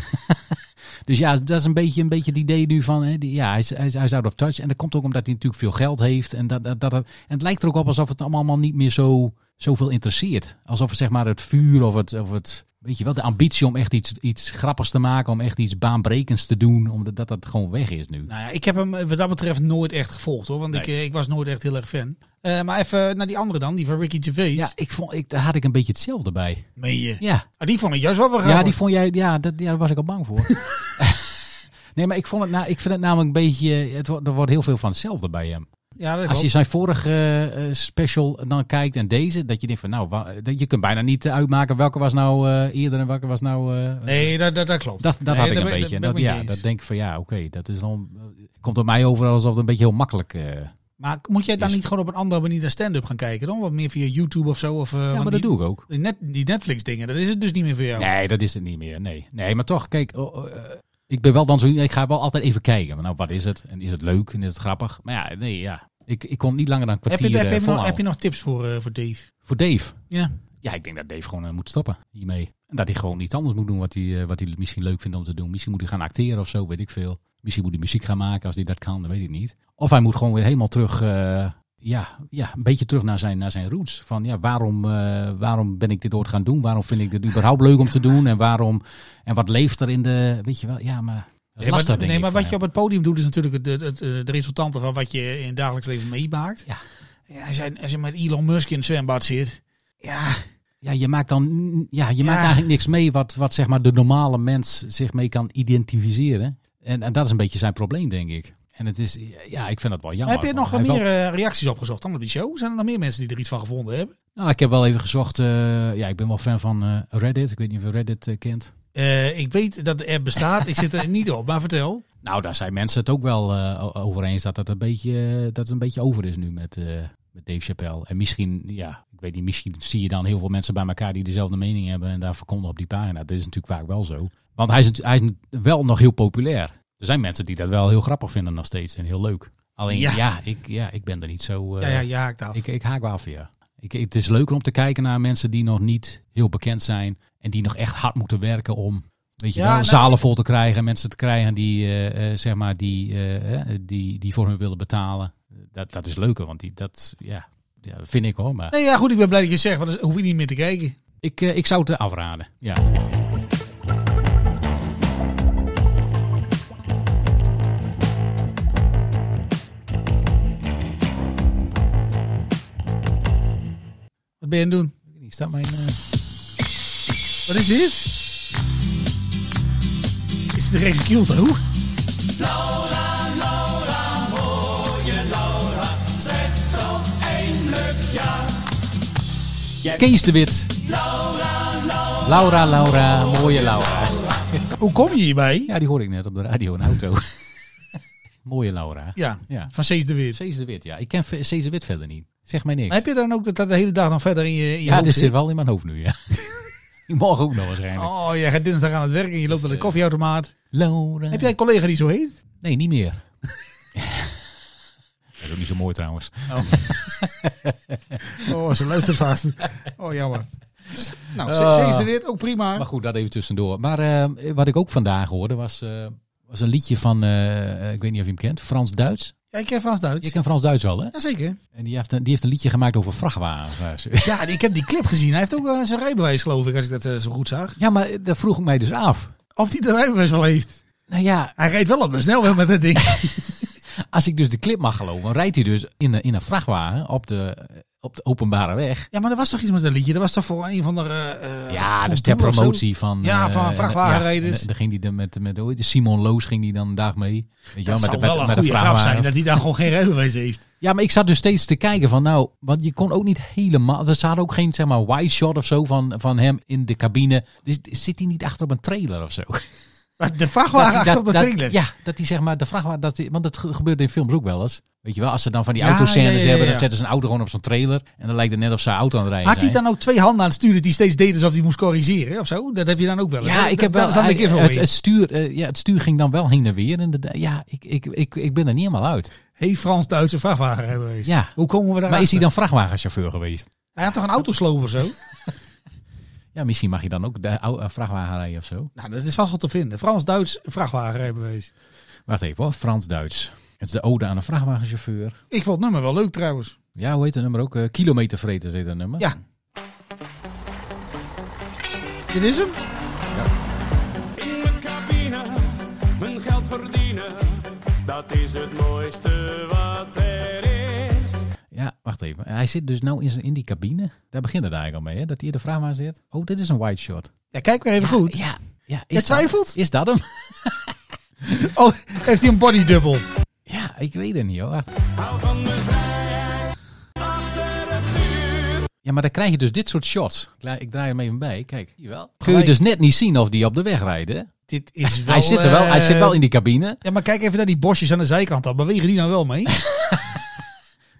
dus ja, dat is een beetje, een beetje het idee nu van, hè, die, ja, hij is, hij, is, hij is out of touch. En dat komt ook omdat hij natuurlijk veel geld heeft. En, dat, dat, dat, en het lijkt er ook op alsof het allemaal niet meer zo, zoveel interesseert. Alsof het, zeg maar het vuur of het... Of het Weet je wel, de ambitie om echt iets, iets grappigs te maken, om echt iets baanbrekends te doen, omdat dat, dat gewoon weg is nu.
Nou ja, ik heb hem eh, wat dat betreft nooit echt gevolgd hoor. Want ik, eh, ik was nooit echt heel erg fan. Eh, maar even naar die andere dan, die van Ricky Gervais.
Ja, ik vond, ik, daar had ik een beetje hetzelfde bij.
Meen je?
Ja,
Ah, die vond ik juist wel wel
ja
grappig.
die vond jij, ja, dat, ja, daar was ik al bang voor. nee, maar ik, vond het, nou, ik vind het namelijk een beetje, het, wordt- er wordt heel veel van hetzelfde bij hem.
ja, dat
Als je
klopt.
zijn vorige eh, eh, special dan kijkt en deze, dat je denkt van, nou, wa- dat- je kunt bijna niet eh, uitmaken welke was nou eh, eerder en welke was nou... eh,
Nee, dat, dat, dat klopt.
Dat, dat
Nee,
had ik
daar
een
ben-
beetje. En
daar
Dat,
ben ik
ja,
mee
dat
eens.
denk ik van ja, oké, dat is dan. Komt op mij over alsof het een beetje heel makkelijk. eh,
Maar moet jij dan
Is-
niet gewoon op een andere manier naar stand-up gaan kijken dan? Wat meer via YouTube of zo? Of, eh,
ja, maar
want
dat
die,
doe ik ook.
Die, net, die Netflix dingen, dat is het dus niet meer voor jou.
Nee, dat is het niet meer. Nee, nee maar toch, kijk, oh, oh, eh, ik ben wel dan zo. Ik ga wel altijd even kijken. Maar nou, wat is het? En is het leuk? En is het grappig? Maar ja, nee, ja. Ik, ik kon niet langer dan een
heb,
kwartier
je, heb, je
eh,
nog, heb
volhouden.
je nog tips voor, eh, voor Dave?
Voor Dave.
Ja.
Ja, ik denk dat Dave gewoon eh, moet stoppen hiermee. En dat hij gewoon iets anders moet doen wat hij, eh, wat hij misschien leuk vindt om te doen. Misschien moet hij gaan acteren of zo, weet ik veel. Misschien moet hij muziek gaan maken als hij dat kan, dat weet ik niet. Of hij moet gewoon weer helemaal terug, eh, ja, ja, een beetje terug naar zijn, naar zijn roots. Van ja, waarom, eh, waarom ben ik dit ooit gaan doen? Waarom vind ik dit überhaupt leuk om te doen? En waarom, en wat leeft er in de, weet je wel, ja, maar dat is
Nee, maar,
lastig denk
nee,
ik
maar
voor
wat je
hem.
op het podium doet is natuurlijk het, het, het, eh, de resultanten van wat je in het dagelijks leven meemaakt.
Ja.
Ja, als, je, als je met Elon Musk in het zwembad zit, ja,
Ja, je maakt dan ja, je
Ja.
Maakt eigenlijk niks mee wat, wat zeg maar de normale mens zich mee kan identificeren. En, en dat is een beetje zijn probleem, denk ik. En het is, ja, ik vind dat wel jammer.
heb je nog
Hij
wat
heeft
meer
wel-
eh, reacties opgezocht dan op die show? Zijn er nog meer mensen die er iets van gevonden hebben?
nou, ik heb wel even gezocht. eh, ja, ik ben wel fan van eh, Reddit. Ik weet niet of je Reddit eh, kent.
Eh, ik weet dat de app bestaat, ik zit er niet op, maar vertel.
Nou, daar zijn mensen het ook wel eh, o- over eens dat het een beetje, eh, dat het een beetje over is nu met, eh, met Dave Chappelle. En misschien, ja, ik weet niet, misschien zie je dan heel veel mensen bij elkaar die dezelfde mening hebben en daar verkondigen op die pagina. Dat is natuurlijk vaak wel zo. Want hij is, natu- hij is wel nog heel populair. Er zijn mensen die dat wel heel grappig vinden nog steeds en heel leuk. Alleen,
Ja.
ja, ik, ja ik ben er niet zo... eh,
ja, ja, je haakt af.
ik, ik haak wel af, ja. Ik, het is leuker om te kijken naar mensen die nog niet heel bekend zijn. En die nog echt hard moeten werken om weet je
Ja,
wel,
nou-
zalen vol te krijgen. Mensen te krijgen die, eh, eh, zeg maar, die, eh, eh, die, die voor hun willen betalen. Dat, dat is leuker, want die, dat ja, ja, vind ik hoor. Maar
Nee, ja, goed, ik ben blij dat je het zegt, want dan hoef je niet meer te kijken.
ik, eh, ik zou het eh, afraden. Ja.
Wat ben je aan het doen?
Is dat mijn... eh,
Wat is dit? Is het de race Kielto?
Kees de Wit. Laura, Laura, mooie Laura.
Hoe kom je hierbij? Ja,
Ja, die hoor ik net op de radio in de auto. mooie Laura. Ja.
van Sees de Weer.
Cees de Wit, ja. Ik ken Ve- Cees de Wit verder niet. Zeg mij niks.
Maar heb je dan ook dat dat de hele dag dan verder in je, in je
Ja,
hoofd
dit
zit?
zit wel in mijn hoofd nu, ja. Morgen ook nog waarschijnlijk.
Oh, jij gaat dinsdag aan het werk en je loopt naar de koffieautomaat.
Laura.
Heb jij een collega die zo heet?
Nee, niet meer. Dat is ook niet zo mooi trouwens.
Oh, ze luistert vast. Oh, jammer. Nou,
Ah.
ze, ze is er weer, ook prima.
Maar goed, dat even tussendoor. Maar eh, wat ik ook vandaag hoorde was, eh, was een liedje van, eh, ik weet niet of je hem kent, Frans-Duits.
Ja, ik ken Frans-Duits.
Je kent Frans-Duits wel, hè?
Jazeker.
En die heeft, een- die heeft een liedje gemaakt over vrachtwagens.
Ja, ik heb die clip gezien. Hij heeft ook eh, zijn rijbewijs, geloof ik, als ik dat eh, zo goed zag.
Ja, maar dat vroeg ik mij dus af.
Of hij de rijbewijs wel heeft.
Nou ja,
Hij rijdt wel op de snelweg met dat ding.
als ik dus de clip mag geloven, dan rijdt hij dus in, een- in een vrachtwagen op de, eh, op de openbare weg.
Ja, maar er was toch iets met dat liedje? Dat was toch voor een van de... eh,
Ja,
eh,
dus ter
Doel of zo?
promotie van...
Ja,
eh,
van dus.
en-
vrachtwagenrijders.
en Dan ging hij dan met, met hoe heet het, Simon Loos ging die dan dag mee. Weet je, wel,
Dat zou
met, de- met,
wel een
met de
goede grap zijn,
vrachtwagen.
dat hij daar gewoon geen rijbewijs heeft.
Ja, maar ik zat dus steeds te kijken van nou, want je kon ook niet helemaal, er zat ook geen zeg maar wide shot of zo van, van hem in de cabine. Dus zit hij niet achter op een trailer of zo?
Maar de vrachtwagen
hij-
achter op de
dat-
trailer.
Ja, dat hij zeg maar, de vrachtwagen, dat die, want dat ge- gebeurt in films ook wel eens. Weet je wel, als ze dan van die
Ja,
autoscènes
ja, ja, ja,
hebben, dan
ja.
zetten ze een auto gewoon op zo'n trailer. En dan lijkt het net of ze auto aan het rijden
Had hij
zijn.
dan ook twee handen aan het sturen die steeds deden alsof hij moest corrigeren of zo? Dat heb je dan ook wel. eens.
Ja,
Dat-
ik heb
dat
wel.
is dan een keer voor
het,
je.
het stuur, eh, ja, het stuur ging dan wel heen en weer. inderdaad. ja, ik, ik, ik, ik ben er niet helemaal uit.
Heeft Frans-Duitse vrachtwagenrijbewijs?
Ja.
Hoe komen we daar?
Maar is hij dan vrachtwagenchauffeur geweest?
Hij had toch een autosloop of zo?
Ja, misschien mag je dan ook de oude vrachtwagen rijden of zo.
nou, dat is vast wel te vinden. Frans-Duits vrachtwagenrijbewijs.
Wacht even hoor, Frans-Duits. Het is de ode aan een vrachtwagenchauffeur.
Ik vond het nummer wel leuk trouwens.
Ja, hoe heet dat nummer ook? Eh, Kilometervreters heet dat nummer.
Ja. Dit is hem?
In mijn cabine, mijn geld verdienen. Dat is het mooiste wat er is.
Ja, wacht even. Hij zit dus nou in, zijn, in die cabine. Daar begint het eigenlijk al mee, hè? Dat hij in de vrachtwagen zit. Oh, dit is een wide shot.
Ja, kijk maar even goed.
Ja, ja. Is
Je
dat,
twijfelt?
is dat hem?
Oh, heeft hij een bodydubbel?
Ja, ik weet het niet hoor. Wacht.
Hou van mijn vrijheid achter het vuur.
Ja, maar dan krijg je dus dit soort shots. Ik la- Ik draai hem even bij. Kijk, hier wel. Kun je
Gelijk.
dus net niet zien of die op de weg rijden. hè?
Dit is wel...
Hij zit er wel, hij zit wel
eh,
in die cabine.
Ja, maar kijk even naar die bosjes aan de zijkant. Dan bewegen die nou wel mee?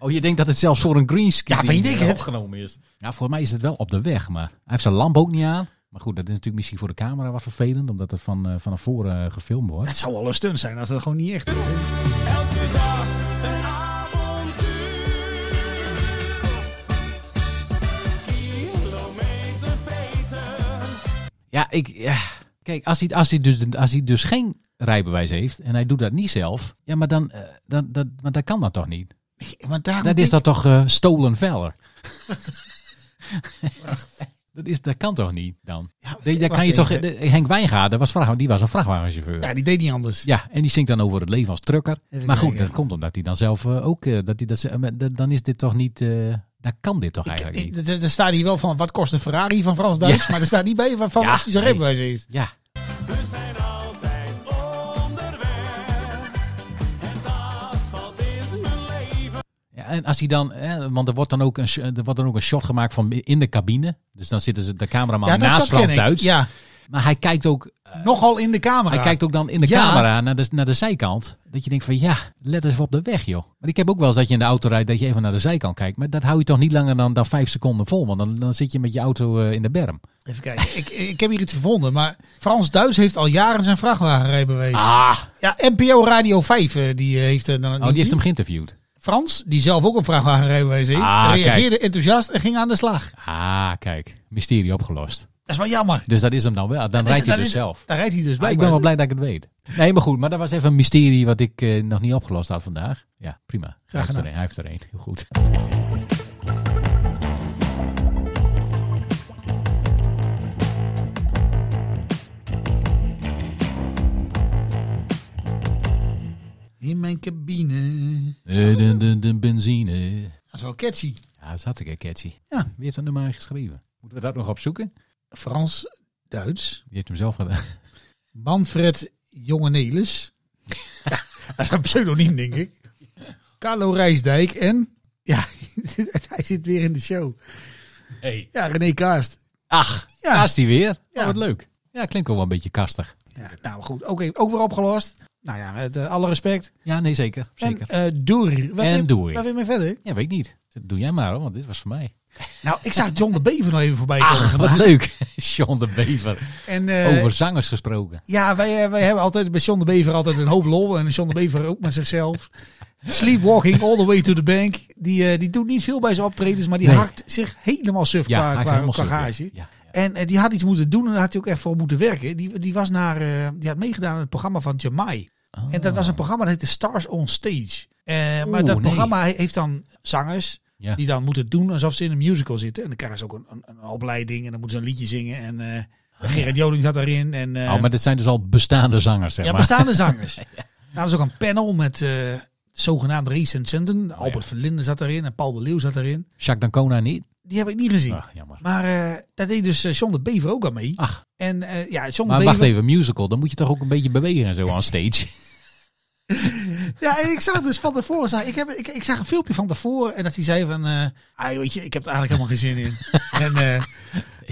Oh, je denkt dat het zelfs voor een greenscreen
Ja, weet ik
eh,
het.
opgenomen is. Ja, voor mij is het wel op de weg, maar hij heeft zijn lamp ook niet aan. Maar goed, dat is natuurlijk misschien voor de camera wat vervelend, omdat het van, eh van naar voren eh, gefilmd wordt.
Dat zou wel een stunt zijn als dat gewoon niet echt is. hè?
Elke dag een avontuur. Kilometer veters.
Ja, ik... Ja. Kijk, als hij, als, hij dus, als hij dus geen rijbewijs heeft en hij doet dat niet zelf, ja, maar dan, eh, dan, dan, maar dan kan dat toch niet?
Nee, Maar daarom
Dat is dat toch eh, stolen valor? dat, is, dat kan toch niet dan?
Ja,
Dat- dat
wacht
kan je toch,
even.
de- Henk Wijngaarden was, vracht- die was een vrachtwagenchauffeur.
Ja, die deed niet anders.
Ja, en die zingt dan over het leven als trucker.
Even
maar goed,
kijken.
dat komt omdat hij dan zelf eh, ook... eh, dat hij dat, ze- eh, maar dat- dan is dit toch niet... eh dan kan dit toch eigenlijk niet?
Ik- Er er staat hier wel van, wat kost een Ferrari van Frans Duits? Maar er staat niet bij waarvan
Ja,
als hij zijn
nee.
rijbewijs heeft.
Ja,
We zijn altijd onderweg. Het asfalt is mijn leven.
Ja, en als hij dan... eh, want er wordt dan, ook een, sh- er wordt dan ook een shot gemaakt van in de cabine. Dus dan zitten ze de cameraman
Ja, dat
naast
dat ken ik.
Frans-Duits.
Ja,
Maar hij kijkt ook...
nogal in de camera.
Hij kijkt ook dan in de
Ja.
camera naar de, naar de zijkant. Dat je denkt van ja, let eens op de weg joh. Want ik heb ook wel eens dat je in de auto rijdt dat je even naar de zijkant kijkt. Maar dat hou je toch niet langer dan, dan vijf seconden vol. Want dan, dan zit je met je auto eh, in de berm.
Even kijken, ik, ik heb hier iets gevonden. Maar Frans Duits heeft al jaren zijn vrachtwagenrijbewijs.
Ah,
Ja, NPO Radio 5, eh, die heeft eh, dan...
oh, die heeft hem geïnterviewd.
Frans, die zelf ook een vrachtwagenrijbewijs heeft,
Ah,
reageerde enthousiast en ging aan de slag.
Ah, kijk. Mysterie opgelost.
Dat is wel jammer.
Dus dat is hem dan wel. Dan
Dat is-
rijdt hij
dat
dus
is-
zelf.
Daar rijdt hij dus
Ah,
bij.
ik ben wel blij dat ik het weet. Nee, maar goed. Maar dat was even een mysterie wat ik eh, nog niet opgelost had vandaag. Ja, prima. Hij heeft, er
gedaan.
een, hij heeft er een. Heel goed.
In mijn cabine.
De, de, de, de benzine.
Dat is wel catchy.
Ja, dat is hartstikke catchy.
Ja.
Wie heeft dat nummer geschreven? Moeten we dat nog opzoeken?
Frans Duits.
Die heeft hem zelf gedaan.
Manfred Jongenelis. ja, dat is een pseudoniem, denk ik. Carlo Rijsdijk en... Ja, hij zit weer in de show.
Hey.
Ja, René Kaast.
Ach,
Ja.
daar is hij weer.
Ja.
Oh, wat leuk. Ja, klinkt ook wel een beetje kastig.
Ja, nou goed, oké, ook weer opgelost. Nou ja, het, eh, alle respect.
Ja, nee, zeker. Zeker.
En eh Doer. Waar
En
wil-
Doer.
Waar wil je mee verder?
ja, weet ik niet. Doe jij maar hoor, want dit was voor mij.
Nou, ik zag John de Bever nog even voorbij komen.
Ach, wat leuk. Sean de Bever.
En, Ah. eh,
Over zangers gesproken.
Ja, wij, eh, wij hebben altijd bij John de Bever altijd een hoop lol. En John de Bever ook met zichzelf. Sleepwalking all the way to the bank. Die, eh, die doet niet veel bij zijn optredens, maar die
Nee.
hakt zich helemaal suf
Ja, hij
qua,
is
qua,
helemaal
qua
super.
gage.
Ja, ja.
En eh, die had iets moeten doen en daar had hij ook echt voor moeten werken. Die, die, was naar, eh, die had meegedaan aan het programma van Jamai. En dat was een programma dat heette Stars on Stage. Eh, maar
Ah. Oeh,
dat
nee.
programma he- heeft dan zangers
Ja.
die dan moeten doen alsof ze in een musical zitten. En dan krijgen ze ook een, een, een opleiding en dan moeten ze een liedje zingen. En eh,
Ah,
Gerrit Joling zat daarin. En, eh,
Oh, maar dit zijn dus al bestaande zangers, zeg
ja,
maar.
bestaande zangers. Nou, er is ook een panel met eh zogenaamd
Oh,
recensenten. Albert van Linden zat daarin en Paul de Leeuw zat daarin.
Jacques Dancona niet.
Die heb ik niet gezien.
Ach, jammer.
Maar eh, daar deed dus eh, John de Bever ook aan mee.
Ach,
En eh, ja, John de
Ah. maar
Bever...
wacht even, musical. Dan moet je toch ook een beetje bewegen en zo aan stage.
Ja, en ik zag dus van tevoren, zag, ik, heb, ik, ik zag een filmpje van tevoren en dat hij zei van, eh ah, weet je, ik heb er eigenlijk helemaal geen zin in. en eh,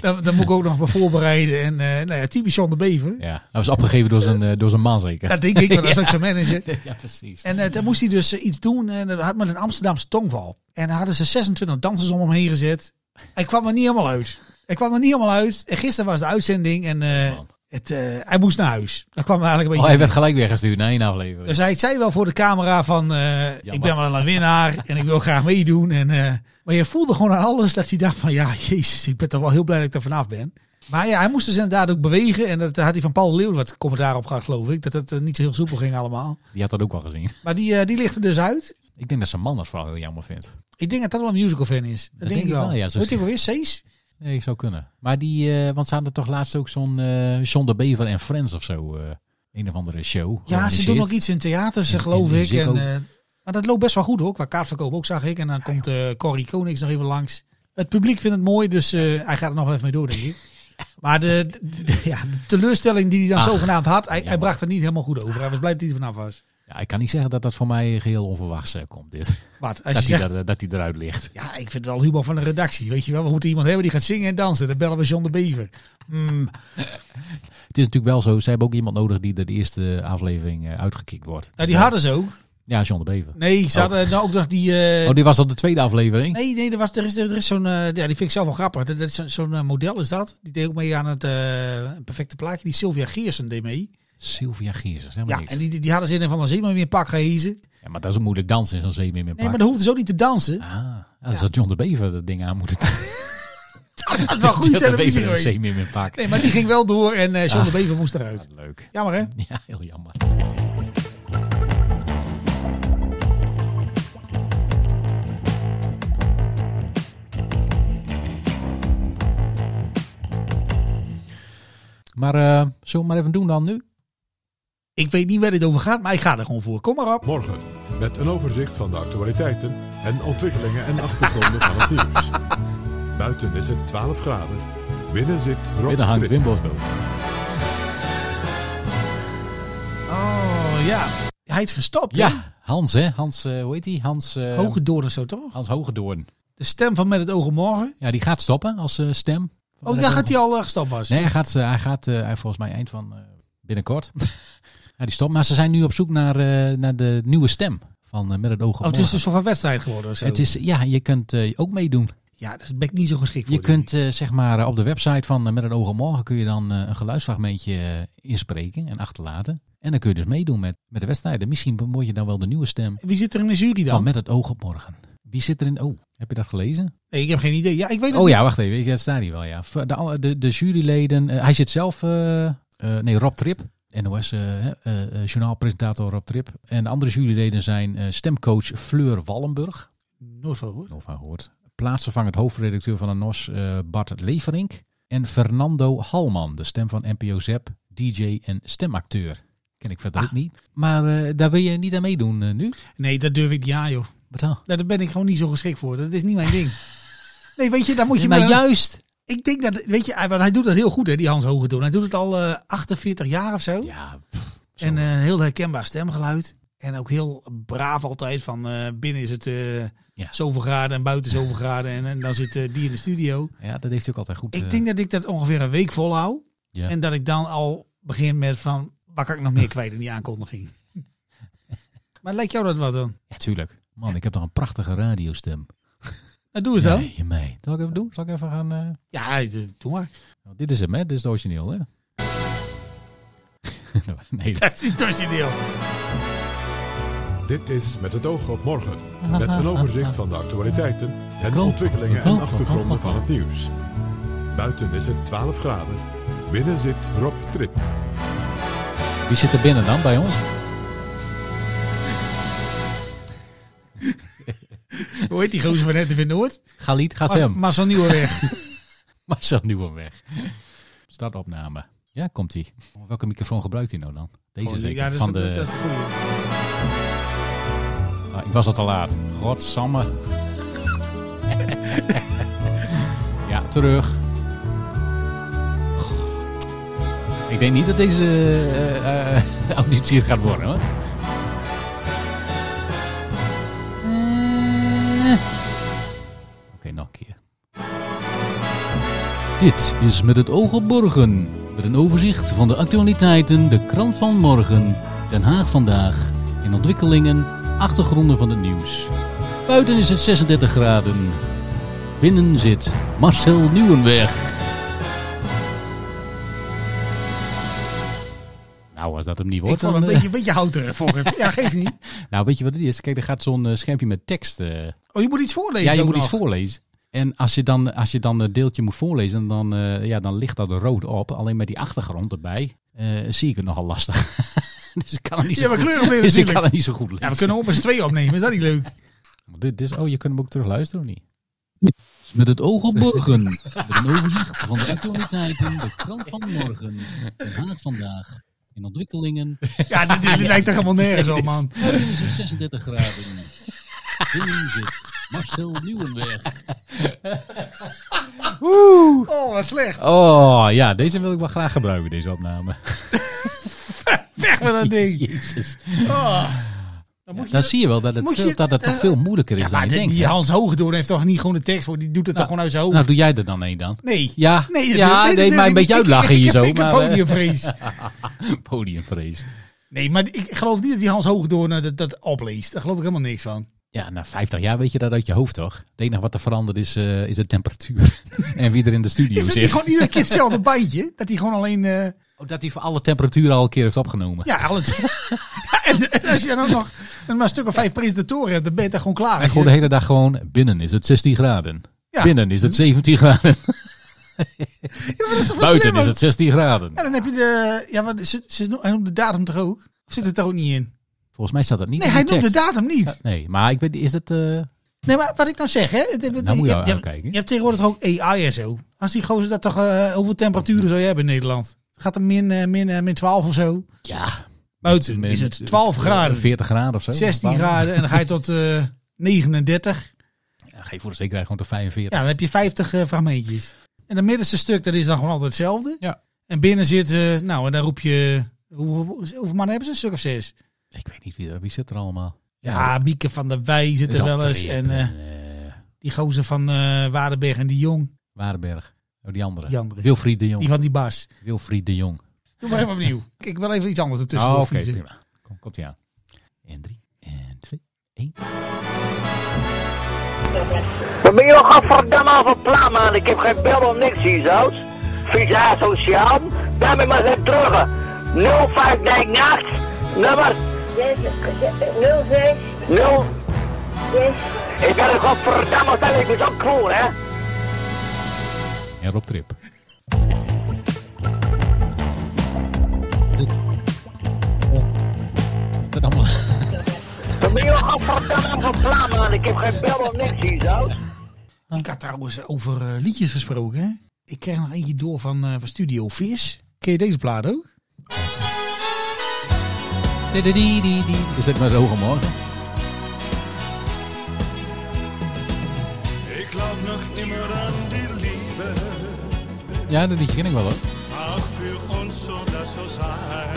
dan, dan moet ik ook nog maar voorbereiden en eh nou ja, typisch John de Bever.
Ja, dat was opgegeven door zijn, eh, door zijn man zeker.
Dat denk ik, want dat is ook zijn manager.
Ja, precies.
En eh, dan moest hij dus eh, iets doen en dat had met een Amsterdamse tongval. En daar hadden ze 26 dansers om hem heen gezet. Hij kwam er niet helemaal uit. Hij kwam er niet helemaal uit. En gisteren was de uitzending en eh,
Oh, Man.
het, eh, hij moest naar huis. Dat kwam eigenlijk een beetje...
Oh, hij werd gelijk weggestuurd na één aflevering.
Dus hij zei wel voor de camera van, eh, ik ben wel een winnaar en ik wil graag meedoen. En, eh, maar je voelde gewoon aan alles dat hij dacht van, ja, jezus, ik ben toch wel heel blij dat ik er vanaf ben. Maar ja, hij moest dus inderdaad ook bewegen. En dat daar had hij van Paul Leeuw wat commentaar op gehad, geloof ik. Dat het eh, niet zo heel soepel ging allemaal.
Die had dat ook wel gezien.
Maar die, eh, die ligt er dus uit.
Ik denk dat zijn man dat vooral heel jammer vindt.
Ik denk dat dat wel een musical fan is. Dat, denk, ik wel.
ja, zo
Weet je
is-
wel weer, Sees?
Nee, zou kunnen. Maar die, eh, want ze hadden toch laatst ook zo'n eh John de Bever en Friends of zo. eh, een of andere show.
Ja, ze doen ook iets in theaters, eh, geloof
in de
ik. En,
Ziggo.
eh, maar dat loopt best wel goed hoor, qua kaartverkoop ook zag ik. En dan komt eh Corrie Konings nog even langs. Het publiek vindt het mooi, dus eh, hij gaat er nog wel even mee door, denk ik. Maar de, de- ja, de teleurstelling die hij dan
Ach,
zogenaamd had, hij, hij
jammer.
bracht er niet helemaal goed over. Hij was blij dat hij er vanaf was.
Ja, ik kan niet zeggen dat dat voor mij geheel onverwachts eh, komt, dit.
Wat, als
Dat
je
hij,
zegt,
dat, dat hij eruit ligt.
ja, ik vind het wel humor van de redactie. Weet je wel, we moeten iemand hebben die gaat zingen en dansen. Dan bellen we John de Bever. Hmm,
Het is natuurlijk wel zo, ze hebben ook iemand nodig die er de eerste aflevering eh, uitgekikt wordt.
nou, die hadden ze ook.
Ja, John de Bever.
Nee, ze hadden nou ook nog die... eh,
Oh, die was al de tweede aflevering?
Nee, nee, er, was, er is, er is zo'n. eh, ja, die vind ik zelf wel grappig. Dat, dat is zo'n zo'n, eh, model is dat. Die deed ook mee aan het eh, perfecte plaatje. Die Sylvia Geersen deed mee.
Sylvia Geersen, zeg maar
Ja,
niks.
en die, die, die hadden ze in een van de zee maar weer pak gehezen.
Ja, maar dat is ook moeilijk dansen in zo'n zeemeer met
Nee, maar
pak.
dan hoefden ze ook niet te dansen.
Ah, dat is dat John de Bever dat ding aan moeten.
Dat was wel goede
John de
televisie
Bever in een
geweest.
zeemeer met pak.
Nee, maar die ging wel door en eh John de
Ah.
Bever moest eruit.
Wat Leuk.
Jammer hè?
Ja, heel jammer. Maar eh zullen we maar even doen dan nu?
Ik weet niet waar dit over gaat, maar ik ga er gewoon voor. Kom maar op.
Morgen met een overzicht van de actualiteiten en ontwikkelingen en achtergronden van het nieuws. Buiten is het 12 graden. Binnen zit Rob
Binnen hangt
Trip.
Wim Bosbo.
Oh ja. Hij is gestopt. Hè?
Ja, Hans hè? Hans, eh, hoe heet hij? Hans, eh
Hogedoorn of zo toch?
Hans Hogedoorn.
De stem van Met het Ogen Morgen.
Ja, die gaat stoppen als eh, stem.
Oh ja, gaat hij al eh, gestopt was.
Nee, hij gaat, eh, hij gaat eh, hij volgens mij eind van eh, binnenkort. ja, die stopt. Maar ze zijn nu op zoek naar, eh, naar de nieuwe stem van eh, Met het oog op
Oh, het is
morgen.
dus van wedstrijd geworden. of Zo.
Het is, ja, je kunt eh, ook meedoen.
Ja, dat ben ik niet zo geschikt voor.
Je
denk ik.
kunt eh, zeg maar eh, op de website van eh, Met het oog op morgen kun je dan eh, een geluidsfragmentje eh, inspreken en achterlaten. En dan kun je dus meedoen met, met de wedstrijden. Misschien word je dan wel de nieuwe stem
Wie zit er in de jury dan?
van Met het oog op morgen. Wie zit er in? Oh, heb je dat gelezen?
Nee, ik heb geen idee. Ja, ik weet het
Oh
niet.
ja, wacht even. Ik- Dat staat hier wel, ja. Ver- De, alle- de, de juryleden... eh, hij zit zelf... eh, eh, nee, Rob Trip. NOS eh, hè, eh, eh, journaalpresentator Rob Trip. En de andere juryleden zijn eh, stemcoach Fleur Wallenburg.
Nooit van gehoord.
Nog van gehoord. Plaatsvervangend hoofdredacteur van de NOS eh, Bart Leverink. En Fernando Halman, de stem van NPO Zep, DJ en stemacteur. Ken ik verder
Ah.
ook niet. Maar eh, daar wil je niet aan meedoen eh, nu?
Nee, dat durf ik niet aan, joh.
Wat dan?
Nou, Daar ben ik gewoon niet zo geschikt voor. Dat is niet mijn ding. Nee, weet je, daar moet je
maar
maar...
nou juist!
Ik denk dat, weet je, hij- want hij doet dat heel goed, hè, die Hans Hogedoorn. Hij doet het al eh, 48 jaar of zo.
Ja, pff, zo.
en eh, een heel herkenbaar stemgeluid. En ook heel braaf altijd van eh, binnen is het eh,
Ja.
zoveel graden en buiten zoveel graden. En, en dan zit eh, die in de studio.
ja, dat heeft hij ook altijd goed.
Ik
eh,
denk dat ik dat ongeveer een week volhoud.
Ja.
En dat ik dan al begin met van, waar kan ik nog meer kwijt in die aankondiging? maar lijkt jou dat wat dan?
Ja, tuurlijk. Man, ik heb toch een prachtige radiostem.
Nou, doe eens dan.
Nee, je mee. Zal ik even doen? Zal ik even gaan... eh,
Ja, d- doe maar.
nou, dit is hem, hè? Dit is het origineel, hè? nee,
Dat is niet origineel.
Dit is Met het oog op morgen. Met een overzicht van de actualiteiten en
klomp.
ontwikkelingen en
klomp.
achtergronden van het nieuws. Buiten is het 12 graden. Binnen zit Rob Trip.
Wie zit er binnen dan bij ons?
Hoe heet die gozer van net in Noord?
Galit Gassem.
Maar zo'n nieuwe weg.
Marcel Nieuwenweg. Startopname. Ja, komt ie. Welke microfoon gebruikt hij nou dan? Deze zeker.
Oh, ja, dat is,
van
de,
de,
dat is de goede.
Ah, ik was al te laat. Godsamme. ja, terug. Ik denk niet dat deze eh, eh, auditie het gaat worden, hoor. Oké, nog een keer. Dit is met het oog op morgen. Met een overzicht van de actualiteiten, de krant van morgen, Den Haag vandaag en ontwikkelingen, achtergronden van het nieuws. Buiten is het 36 graden. Binnen zit Marcel Nieuwenweg. Nou, als dat hem niet
Ik
wordt,
vond
dan,
een
eh,
beetje, een beetje houterig voor het. Ja, geeft niet.
nou weet je wat het is? Kijk, er gaat zo'n eh, schermpje met tekst eh,
Oh, je moet iets voorlezen.
ja, je
ook
moet
nog.
iets voorlezen. En als je dan, als je dan het deeltje moet voorlezen, dan, eh, ja, dan ligt dat rood op. Alleen met die achtergrond erbij eh, zie ik het nogal lastig. dus ik kan het niet
Ja,
zo
maar
goed,
kleurenblind
dus ik kan
natuurlijk.
het niet zo goed lezen.
Ja, we kunnen ook eens twee opnemen. Is dat niet leuk?
dit, dit is, oh, je kunt hem ook terug luisteren of niet? Dus Met het oog op morgen. Met een overzicht van de actualiteiten, de krant van morgen, de haat vandaag, in ontwikkelingen,
Ja, dit, dit lijkt er helemaal nergens op, Oh, man.
Binnen is het 36 graden. Binnen zit Marcel Nieuwenberg.
Oh, wat slecht.
Oh ja, deze wil ik wel graag gebruiken, deze opname.
Weg met dat ding.
Jezus.
Oh. Dan moet je
Dan zie je wel dat het,
Moet je- eh,
veel, dat het toch veel moeilijker is
Ja,
Dus dan
maar
je
die,
denkt.
die
hè?
Hans Hogedoorn heeft toch niet gewoon de tekst voor? Die doet het toch gewoon uit zijn hoofd?
Nou, doe jij er dan een dan.
nee.
Ja,
Nee, dat
ja deed
dat durf
mij
ik
een beetje
niet. Ik-
uitlachen
ik-
hier
ik
zo.
heb
Maar, eh,
podiumvrees.
podiumvrees.
Nee, maar ik geloof niet dat die Hans Hogedoorn eh, dat, dat opleest. Daar geloof ik helemaal niks van.
Ja, na 50 jaar weet je dat uit je hoofd toch? Het enige wat er veranderd is, eh, is de temperatuur. en wie er in de studio
Is het niet
zit.
gewoon iedere keer hetzelfde bandje? Dat hij gewoon alleen... eh,
Oh, dat hij voor alle temperaturen al een keer heeft opgenomen.
ja, al het- Ja, en, en als je dan ook nog een, maar een stuk of vijf presentatoren hebt, dan ben je daar gewoon klaar.
En
Als
gewoon de
je,
hele dag gewoon, binnen is het 16 graden.
Ja.
Binnen is het 17 graden.
Ja, maar dat is
Buiten
toch
is
verslimmend?
het 16 graden.
Ja, dan heb je de... Ja, wat, ze, ze noemt de datum toch ook? Of zit het er ook niet in?
Volgens mij staat dat niet
Nee,
in
hij
de
noemt de
tekst.
datum niet.
Nee, maar ik weet, is het... eh,
Nee, maar wat ik nou zeg, hè? Het, het-
Nou, moet je
hebt- hebt-
aankijken.
je hebt tegenwoordig toch ook AI en zo. Als die gozer dat toch... eh, hoeveel temperaturen zou je hebben in Nederland? Gaat er min, eh, min, eh, min 12 of
Oh,
zo?
Ja.
Buiten is het 12 graden,
40 graden of zo.
16
Warm.
graden en dan ga je tot eh 39.
Ja, geef voor de zekerheid gewoon tot 45.
Ja, dan heb je 50 eh, fragmentjes. En dat middenste stuk, dat is dan gewoon altijd hetzelfde.
Ja.
En binnen zit, eh, nou, en dan roep je... Hoeveel, hoeveel mannen hebben ze? Een stuk of zes?
Ik weet niet wie, er- wie zit er allemaal.
Ja, Mieke van der Wij zit er wel eens.
Trip
En eh,
eh,
die gozer van eh Waardenberg en die Jong.
Waardenberg. Oh, die andere.
Die andere.
Wilfried de Jong.
Die van die Bas.
Wilfried de Jong.
Doe maar even opnieuw. Ik wil even iets anders ertussen
Ah,
oh,
oké, prima. Kom, komt ie aan. En drie, en twee, één.
Wat ben je nog godverdamme al van plan, man? Ik heb geen bel of niks hier, zout. Vies asociaal. Daarmee maar zijn terug. 0598, nummer
06
0.
6
Ik ben een godverdamme stel, ik moet ook kloor, hè?
En Rob Trip. Dat allemaal.
Wat ben je nog godverdamme van plan, man? Ik heb geen bel of niks hier, zout.
Ik had trouwens over eh, liedjes gesproken. Hè? Ik kreeg nog eentje door van, eh, van Studio Vis. Ken je deze plaat ook?
Dus zet maar zo omhoog.
Ik laat nog immer aan die liebe,
Ja, dat liedje ken ik wel hoor.
ach voor ons zo dat zo zijn.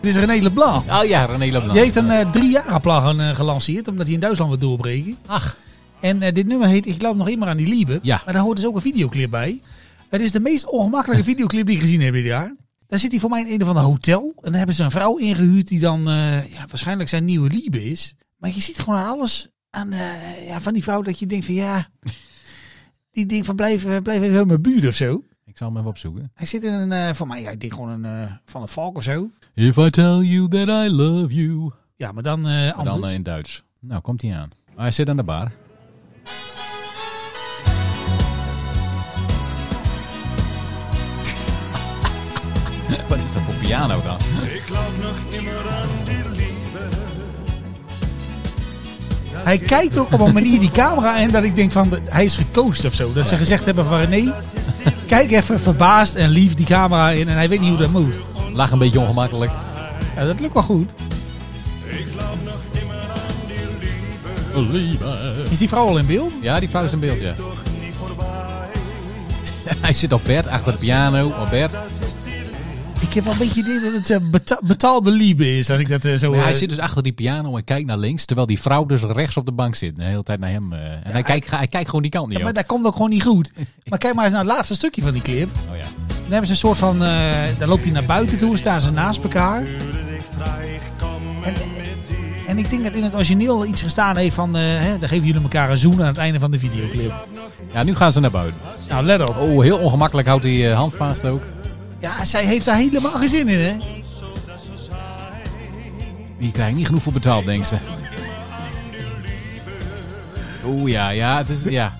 Dit is René Leblanc.
Oh ja, René Leblanc.
Die heeft een eh drie jaar plan eh, gelanceerd, omdat hij in Duitsland wil doorbreken.
Ach,
En eh, dit nummer heet Ik loop nog immer aan die Liebe.
Ja.
Maar daar hoort dus ook een videoclip bij. Het is de meest ongemakkelijke videoclip die ik gezien heb dit jaar. Daar zit hij voor mij in een of ander hotel. En daar hebben ze een vrouw ingehuurd die dan eh, ja, waarschijnlijk zijn nieuwe liebe is. Maar je ziet gewoon aan alles aan, eh, ja, van die vrouw dat je denkt van ja... Die denkt van blijf, eh, blijf even in mijn buurt of zo.
ik zal hem even opzoeken.
Hij zit in een, eh, voor mij, ja, ik denk gewoon een, eh, van een valk of zo.
If I tell you that I love you.
Ja, maar dan eh
Maar
anders.
dan eh, in Duits. Nou, komt hij aan. Ah, hij zit aan de bar. Wat is dat voor piano dan?
Ik loop nog immer aan die liefde.
Hij kijkt ook op een manier die camera in dat ik denk van, hij is gecoacht of zo. Dat ze gezegd hebben van René, kijk even verbaasd en lief die camera in en hij weet niet hoe dat moet.
Lach een beetje ongemakkelijk.
Ja, dat lukt wel goed. Is die vrouw al in beeld?
Ja, die vrouw is in beeld, ja. hij zit op bed, achter de piano, op bed.
Ik heb wel een beetje het idee dat het eh, beta- betaalde liefde is als ik dat eh, zo...
Maar hij
eh,
zit dus achter die piano en kijkt naar links, terwijl die vrouw dus rechts op de bank zit. De hele tijd naar hem. eh, en hij, kijkt, hij kijkt gewoon die kant niet
Ja, maar
op.
dat komt ook gewoon niet goed. Maar kijk maar eens naar het laatste stukje van die clip.
Oh ja.
Dan hebben ze een soort van. eh dan loopt hij naar buiten toe, staan ze naast elkaar. En, en ik denk dat in het origineel iets gestaan heeft van. eh, hè, dan geven jullie elkaar een zoen aan het einde van de videoclip.
ja, nu gaan ze naar buiten.
Nou, let op.
Oh, heel ongemakkelijk houdt hij eh, hand vast ook.
Ja, zij heeft daar helemaal geen zin in, hè?
Hier krijg ik niet genoeg voor betaald, denkt ze. Oeh ja, ja, het is, ja.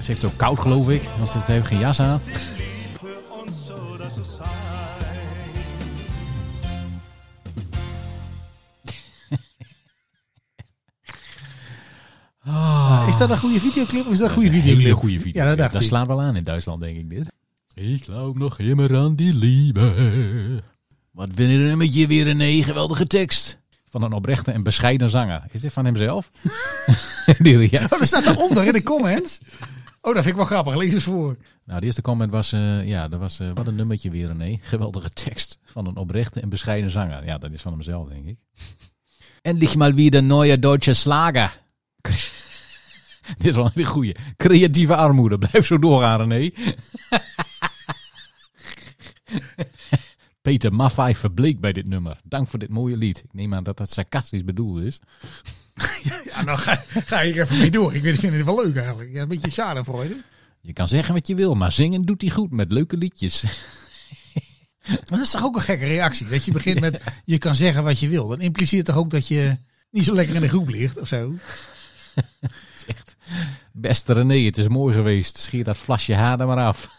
Ze heeft ook koud, geloof ik, want ze heeft geen jas aan. Ah,
Is dat een goede videoclip of is dat een goede
een
videoclip?
Hele goede video.
Ja, dat dacht ik.
slaat wel aan in Duitsland, denk ik, dit. Ik loop nog immer aan die liebe. Wat wil je er met je weer een eh, geweldige tekst? Van een oprechte en bescheiden zanger. Is dit van hemzelf? die, ja.
Oh, dat staat daaronder in de comments. Oh, dat vind ik wel grappig. Lees eens voor.
Nou, de eerste comment was, eh, ja, dat was, eh, wat een nummertje weer René. Geweldige tekst van een oprechte en bescheiden zanger. Ja, dat is van hemzelf, denk ik. Endlich mal wieder neue deutsche Slager. Dit is wel een hele goeie. Creatieve armoede. Blijf zo doorgaan, René. Peter Maffay verbleek bij dit nummer. Dank voor dit mooie lied. Ik neem aan dat dat sarcastisch bedoeld is.
Ja, nou ga, ga ik even mee door. Ik weet- ik vind het wel leuk eigenlijk. Ja, een beetje schadenfreude.
Je kan zeggen wat je wil, maar zingen doet hij goed met leuke liedjes.
Maar dat is toch ook een gekke reactie? Dat je begint met je kan zeggen wat je wil. Dat impliceert toch ook dat je niet zo lekker in de groep ligt of zo?
Beste René, het is mooi geweest. Scheer dat flasje haar er maar af.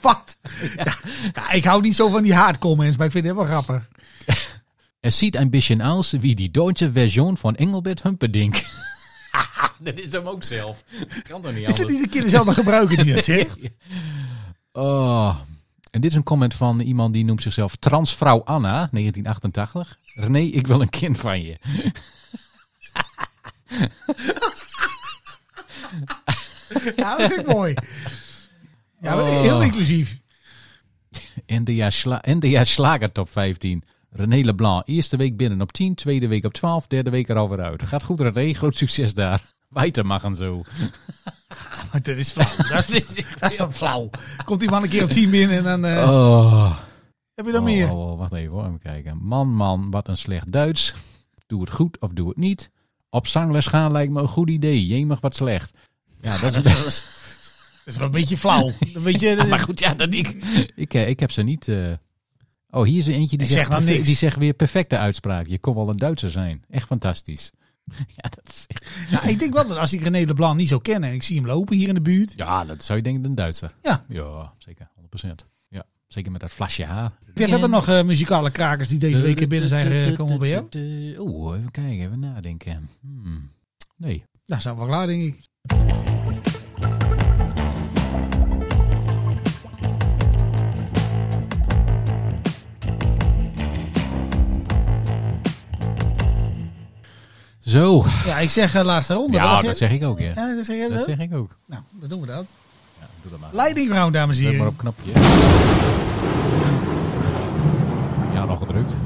Wat? Ja. Ja, ik hou niet zo van die haatcomments, maar ik vind het wel grappig.
Es sieht ein bisschen aus wie die deutsche Version van Engelbert Humperdinck. dat is hem ook zelf. Kan toch niet
Is het iedere keer dezelfde gebruiker die dat zegt?
Oh. En dit is een comment van iemand die noemt zichzelf Transvrouw Anna, 1988. René, ik wil een kind van je.
Ja, Nou, dat vind ik mooi. Ja, maar heel inclusief.
NDA, Schla NDA Slager Top 15. René Leblanc, eerste week binnen op 10, tweede week op 12, derde week er alweer uit. Gaat goed René, groot succes daar. Weiter mag en zo.
Maar dat is flauw. Dat is, dat is wel flauw. Komt die man een keer op 10 binnen en dan eh,
Oh.
heb je dan
Oh,
meer.
oh, oh, wacht even hoor, even kijken. Man, man, wat een slecht Duits. Doe het goed of doe het niet. Op zangles gaan lijkt me een goed idee. Je mag wat slecht. Ja, dat is...
Dat is wel een beetje flauw. Een beetje,
maar goed, ja, dat ik. Ik, eh, ik heb ze niet... eh. Oh, hier is er eentje die
Ik zeg
zegt,
nou
perfe-
niks.
die zegt weer perfecte uitspraak. Je kon wel een Duitser zijn. Echt fantastisch. Ja, dat is...
Nou, ik denk wel dat als ik René Leblanc niet zou kennen en ik zie hem lopen hier in de buurt.
Ja, dat zou je denken een Duitser.
Ja.
Ja, zeker. 100%. Ja, zeker met dat flasje haar.
Heb jij verder nog eh, muzikale krakers die deze week binnen zijn eh, gekomen bij jou?
Oeh, Oh, even kijken, even nadenken. Hmm. Nee.
Nou, zijn we wel klaar, denk ik.
Zo.
Ja, ik zeg eh, laatste ronde.
Ja,
Wat
dat
dacht
zeg ik ook, ja.
je? Ja, dat zeg jij
Dat
dat?
zeg ik ook.
Nou, dan doen we dat.
Doe dat maar.
Lightning round, dames en
Druk maar
heren.
op knopje. Ja, nog gedrukt.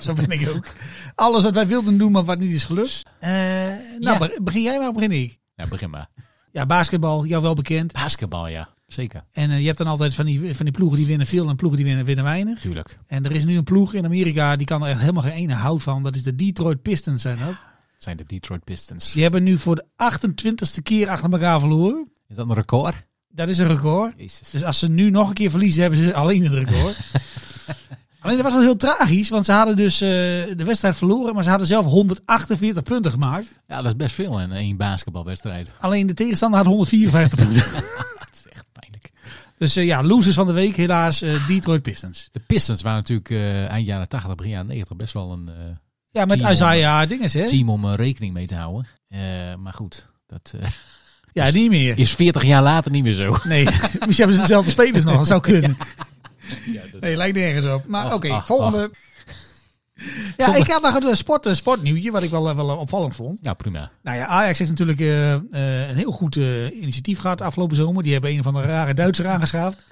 Zo ben ik ook. Alles wat wij wilden doen, maar wat niet is gelukt. Eh, nou,
Ja.
be- begin jij maar, begin ik.
Ja, begin maar.
Ja, basketbal, jou wel bekend.
Basketbal, ja. Zeker.
En eh, je hebt dan altijd van die, van die ploegen die winnen veel en ploegen die winnen, winnen weinig.
Tuurlijk.
En er is nu een ploeg in Amerika, die kan er echt helemaal geen ene hout van. Dat is de Detroit Pistons, zijn dat.
Het zijn de Detroit Pistons.
Die hebben nu voor de 28ste keer achter elkaar verloren.
Is dat een record?
Dat is een record.
Jezus.
Dus als ze nu nog een keer verliezen, hebben ze alleen het record. alleen dat was wel heel tragisch, want ze hadden dus eh, de wedstrijd verloren, maar ze hadden zelf 148 punten gemaakt.
Ja, dat is best veel in één basketbalwedstrijd.
Alleen de tegenstander had 154 punten.
Dat is echt pijnlijk.
Dus eh, ja, losers van de week helaas, eh, Detroit Pistons.
De Pistons waren natuurlijk eh, eind jaren 80, begin jaren 90 best wel een eh,
Ja, met
Team
Isaiah Dinges, hè?
team om eh, rekening mee te houden. Eh, maar goed, dat eh,
Ja, niet meer.
is 40 jaar later niet meer zo.
Nee, misschien hebben ze dezelfde spelers nog, dat zou kunnen. Nee, lijkt nergens op. Maar
Ach,
oké,
ach,
volgende. Ja,
Zonde-
ik had nog een eh, sport, eh, sportnieuwtje, wat ik wel, eh, wel opvallend vond.
Ja, prima.
Nou ja, Ajax heeft natuurlijk eh, eh, een heel goed eh, initiatief gehad afgelopen zomer. Die hebben een van de rare Duitsers aangeschaft.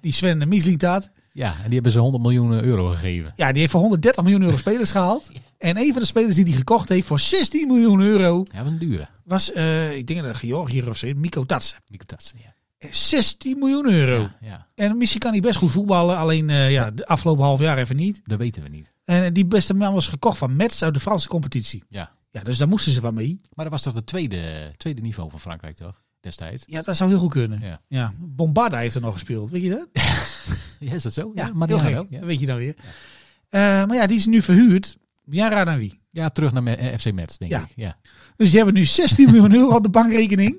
Die Sven Mislintaat.
Ja, en die hebben ze 100 miljoen euro gegeven.
Ja, die heeft voor 130 miljoen euro spelers gehaald. En een van de spelers die hij gekocht heeft voor 16 miljoen euro
Ja, wat een dure.
was, eh, ik denk dat het Georgiër of zo, is, Mikko Tatsen.
Nico Tatsen, ja.
16 miljoen euro.
Ja, ja,
En misschien kan hij best goed voetballen, alleen eh, ja, de afgelopen half jaar even niet.
dat weten we niet.
En eh, die beste man was gekocht van Metz uit de Franse competitie.
Ja.
Ja, dus daar moesten ze van mee.
Maar dat was toch het tweede, tweede niveau van Frankrijk, toch? Destijds.
Ja, dat zou heel goed kunnen.
Ja.
Ja. Bombarda heeft er nog gespeeld, weet je dat?
Ja, is dat zo?
Ja, maar
maar
heel gek.
ook.
Dat
Ja.
weet je dan weer. Eh, maar ja, die is nu verhuurd. Ja, raad aan wie.
ja, terug naar me- eh, FC Metz, denk
Ja.
ik. Ja.
Dus die hebben nu 16 miljoen euro op de bankrekening.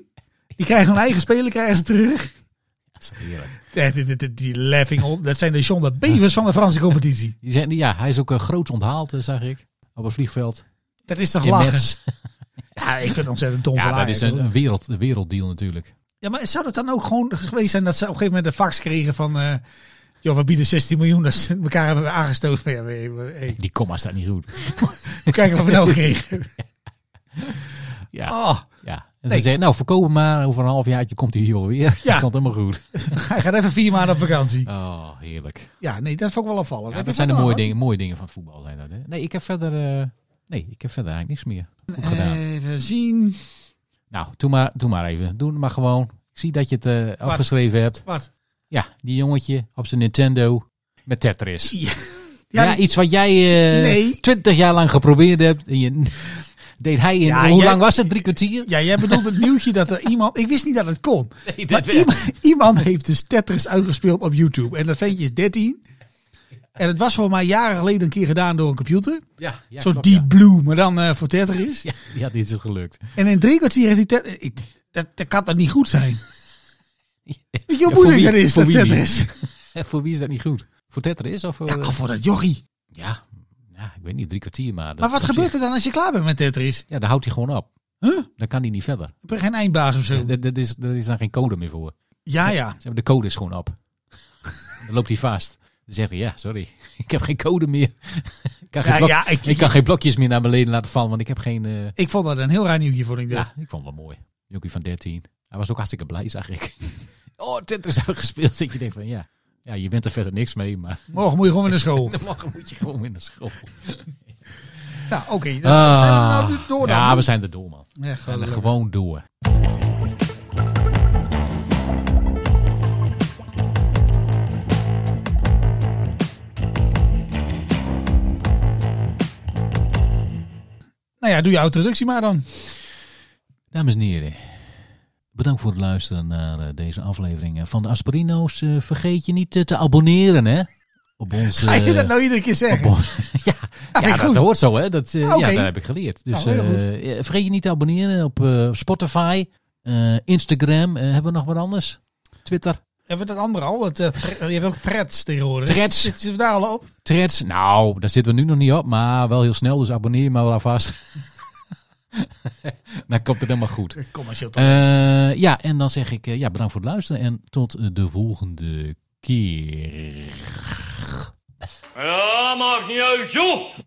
Die krijgen hun eigen speler krijgen ze terug.
Dat is heerlijk.
Eh, Die, die, die, die laughing on, dat zijn de John de Bevers van de Franse competitie.
Die zijn, ja, hij is ook eh, groots onthaald, eh, zag ik. Op het vliegveld.
Dat is toch
In
lachen?
Metz.
Ja, ik vind het ontzettend dom van
Ja, dat
Ajax,
is een,
hoor.
een, wereld, een werelddeal natuurlijk.
Ja, maar zou dat dan ook gewoon geweest zijn dat ze op een gegeven moment een fax kregen van... eh joh, we bieden 16 miljoen, dat ze elkaar hebben aangestoten. Van, Ja, we, we, hey,
Die komma staat niet goed.
we kijken wat we nou kregen.
Ja.
Oh,
Ja. En
Nee.
ze zeggen, nou, verkoop hem maar. Over een half jaartje komt hij hier wel weer.
Ja.
Ja. komt helemaal goed.
hij gaat even vier maanden op vakantie.
Oh, heerlijk.
Ja, nee, dat vond ik wel opvallend.
Ja,
Heb
dat
je
zijn de
verder
mooie
nog
dingen, mooie dingen van het voetbal. Zijn dat, hè? Nee, ik heb verder, eh, nee, ik heb verder eigenlijk niks meer. Goed
wat?
gedaan.
Even zien.
Nou, doe maar, doe maar even. Doe het maar gewoon. Ik zie dat je het eh, afgeschreven hebt.
Wat?
Ja, die jongetje op zijn Nintendo met Tetris.
Ja,
Ja,
ja,
iets wat jij eh,
Nee.
twintig jaar lang geprobeerd hebt. En je, deed hij in,
Ja,
hoe
jij-
lang was het? Drie kwartier?
ja, jij bedoelt het nieuwtje dat er iemand... Ik wist niet dat het kon.
Nee, dat
Maar
wel.
iemand, iemand heeft dus Tetris uitgespeeld op YouTube. En dat ventje is 13. En het was voor mij jaren geleden een keer gedaan door een computer.
Ja, ja,
Zo'n
klopt,
Deep
ja.
Blue, maar dan eh, voor Tetris.
Ja, ja, dit is gelukt.
En in drie kwartier heeft hij Tetris... ik- Dat, dat kan dat niet goed zijn? Weet je hoe
Ja, voor
moeilijk
wie-
dat is,
voor
dat
wie niet?
Tetris?
voor wie is dat niet goed? Voor Tetris of voor...
Ja, voor dat jochie.
Ja, ja, ik weet niet, drie kwartier maar. dat-
Maar wat
op
gebeurt
zich-
er dan als je klaar bent met Tetris?
Ja, dan houdt hij gewoon op.
Huh?
Dan kan hij niet verder.
Heb je geen eindbaas of zo?
Dat, dat is, dat is dan geen code meer voor.
Ja, ja.
Ze hebben de code is gewoon op. dan loopt hij vast. Dan zegt hij, ja, sorry, ik heb geen code meer. ik, kan geen
Ja,
blok-
ja ik,
ik
ik,
kan geen blokjes meer naar beneden laten vallen, want ik heb geen... eh,
vond dat een heel raar nieuwtje, vond ik dat.
Ja, ik vond het wel mooi. Jokie van 13. Hij was ook hartstikke blij, zag ik. oh, Tetris uitgespeeld. Dat je denkt van, ja, ja, je bent er verder niks mee, maar
Morgen moet je gewoon weer naar school.
dan morgen moet je gewoon in de school. Ah.
nou, oké. dus dan zijn we er nou door dan.
ja, we zijn er door, man. We
Ja,
zijn er
gelukkig.
gewoon door.
Nou ja, doe je introductie maar dan.
Eh, Dames en heren, bedankt voor het luisteren naar eh, deze aflevering eh, van de Aspirino's. Eh, vergeet je niet eh, te abonneren, hè? Op ons...
Ga je
eh,
dat nou iedere keer
op
zeggen?
on- ja, ja,
Ja, vind ik
dat
goed.
hoort zo, hè? Dat, eh,
Ah, oké.
Ja, dat heb ik geleerd. Dus
Nou, heel
eh, eh, vergeet je niet te abonneren op eh, Spotify, eh, Instagram. eh, hebben we nog wat anders? Twitter,
Hebben we dat andere al? Dat, eh, thre- je hebt ook threads tegenwoordig.
Threads.
Zitten zitten we daar al op?
Threads. Nou, daar zitten we nu nog niet op, maar wel heel snel. Dus abonneer je maar wel alvast. Dan komt het helemaal goed.
Commercieel toch?
Eh, ja, en dan zeg ik eh, ja, bedankt voor het luisteren en tot eh, de volgende keer.
Ja, maakt niet uit, joh!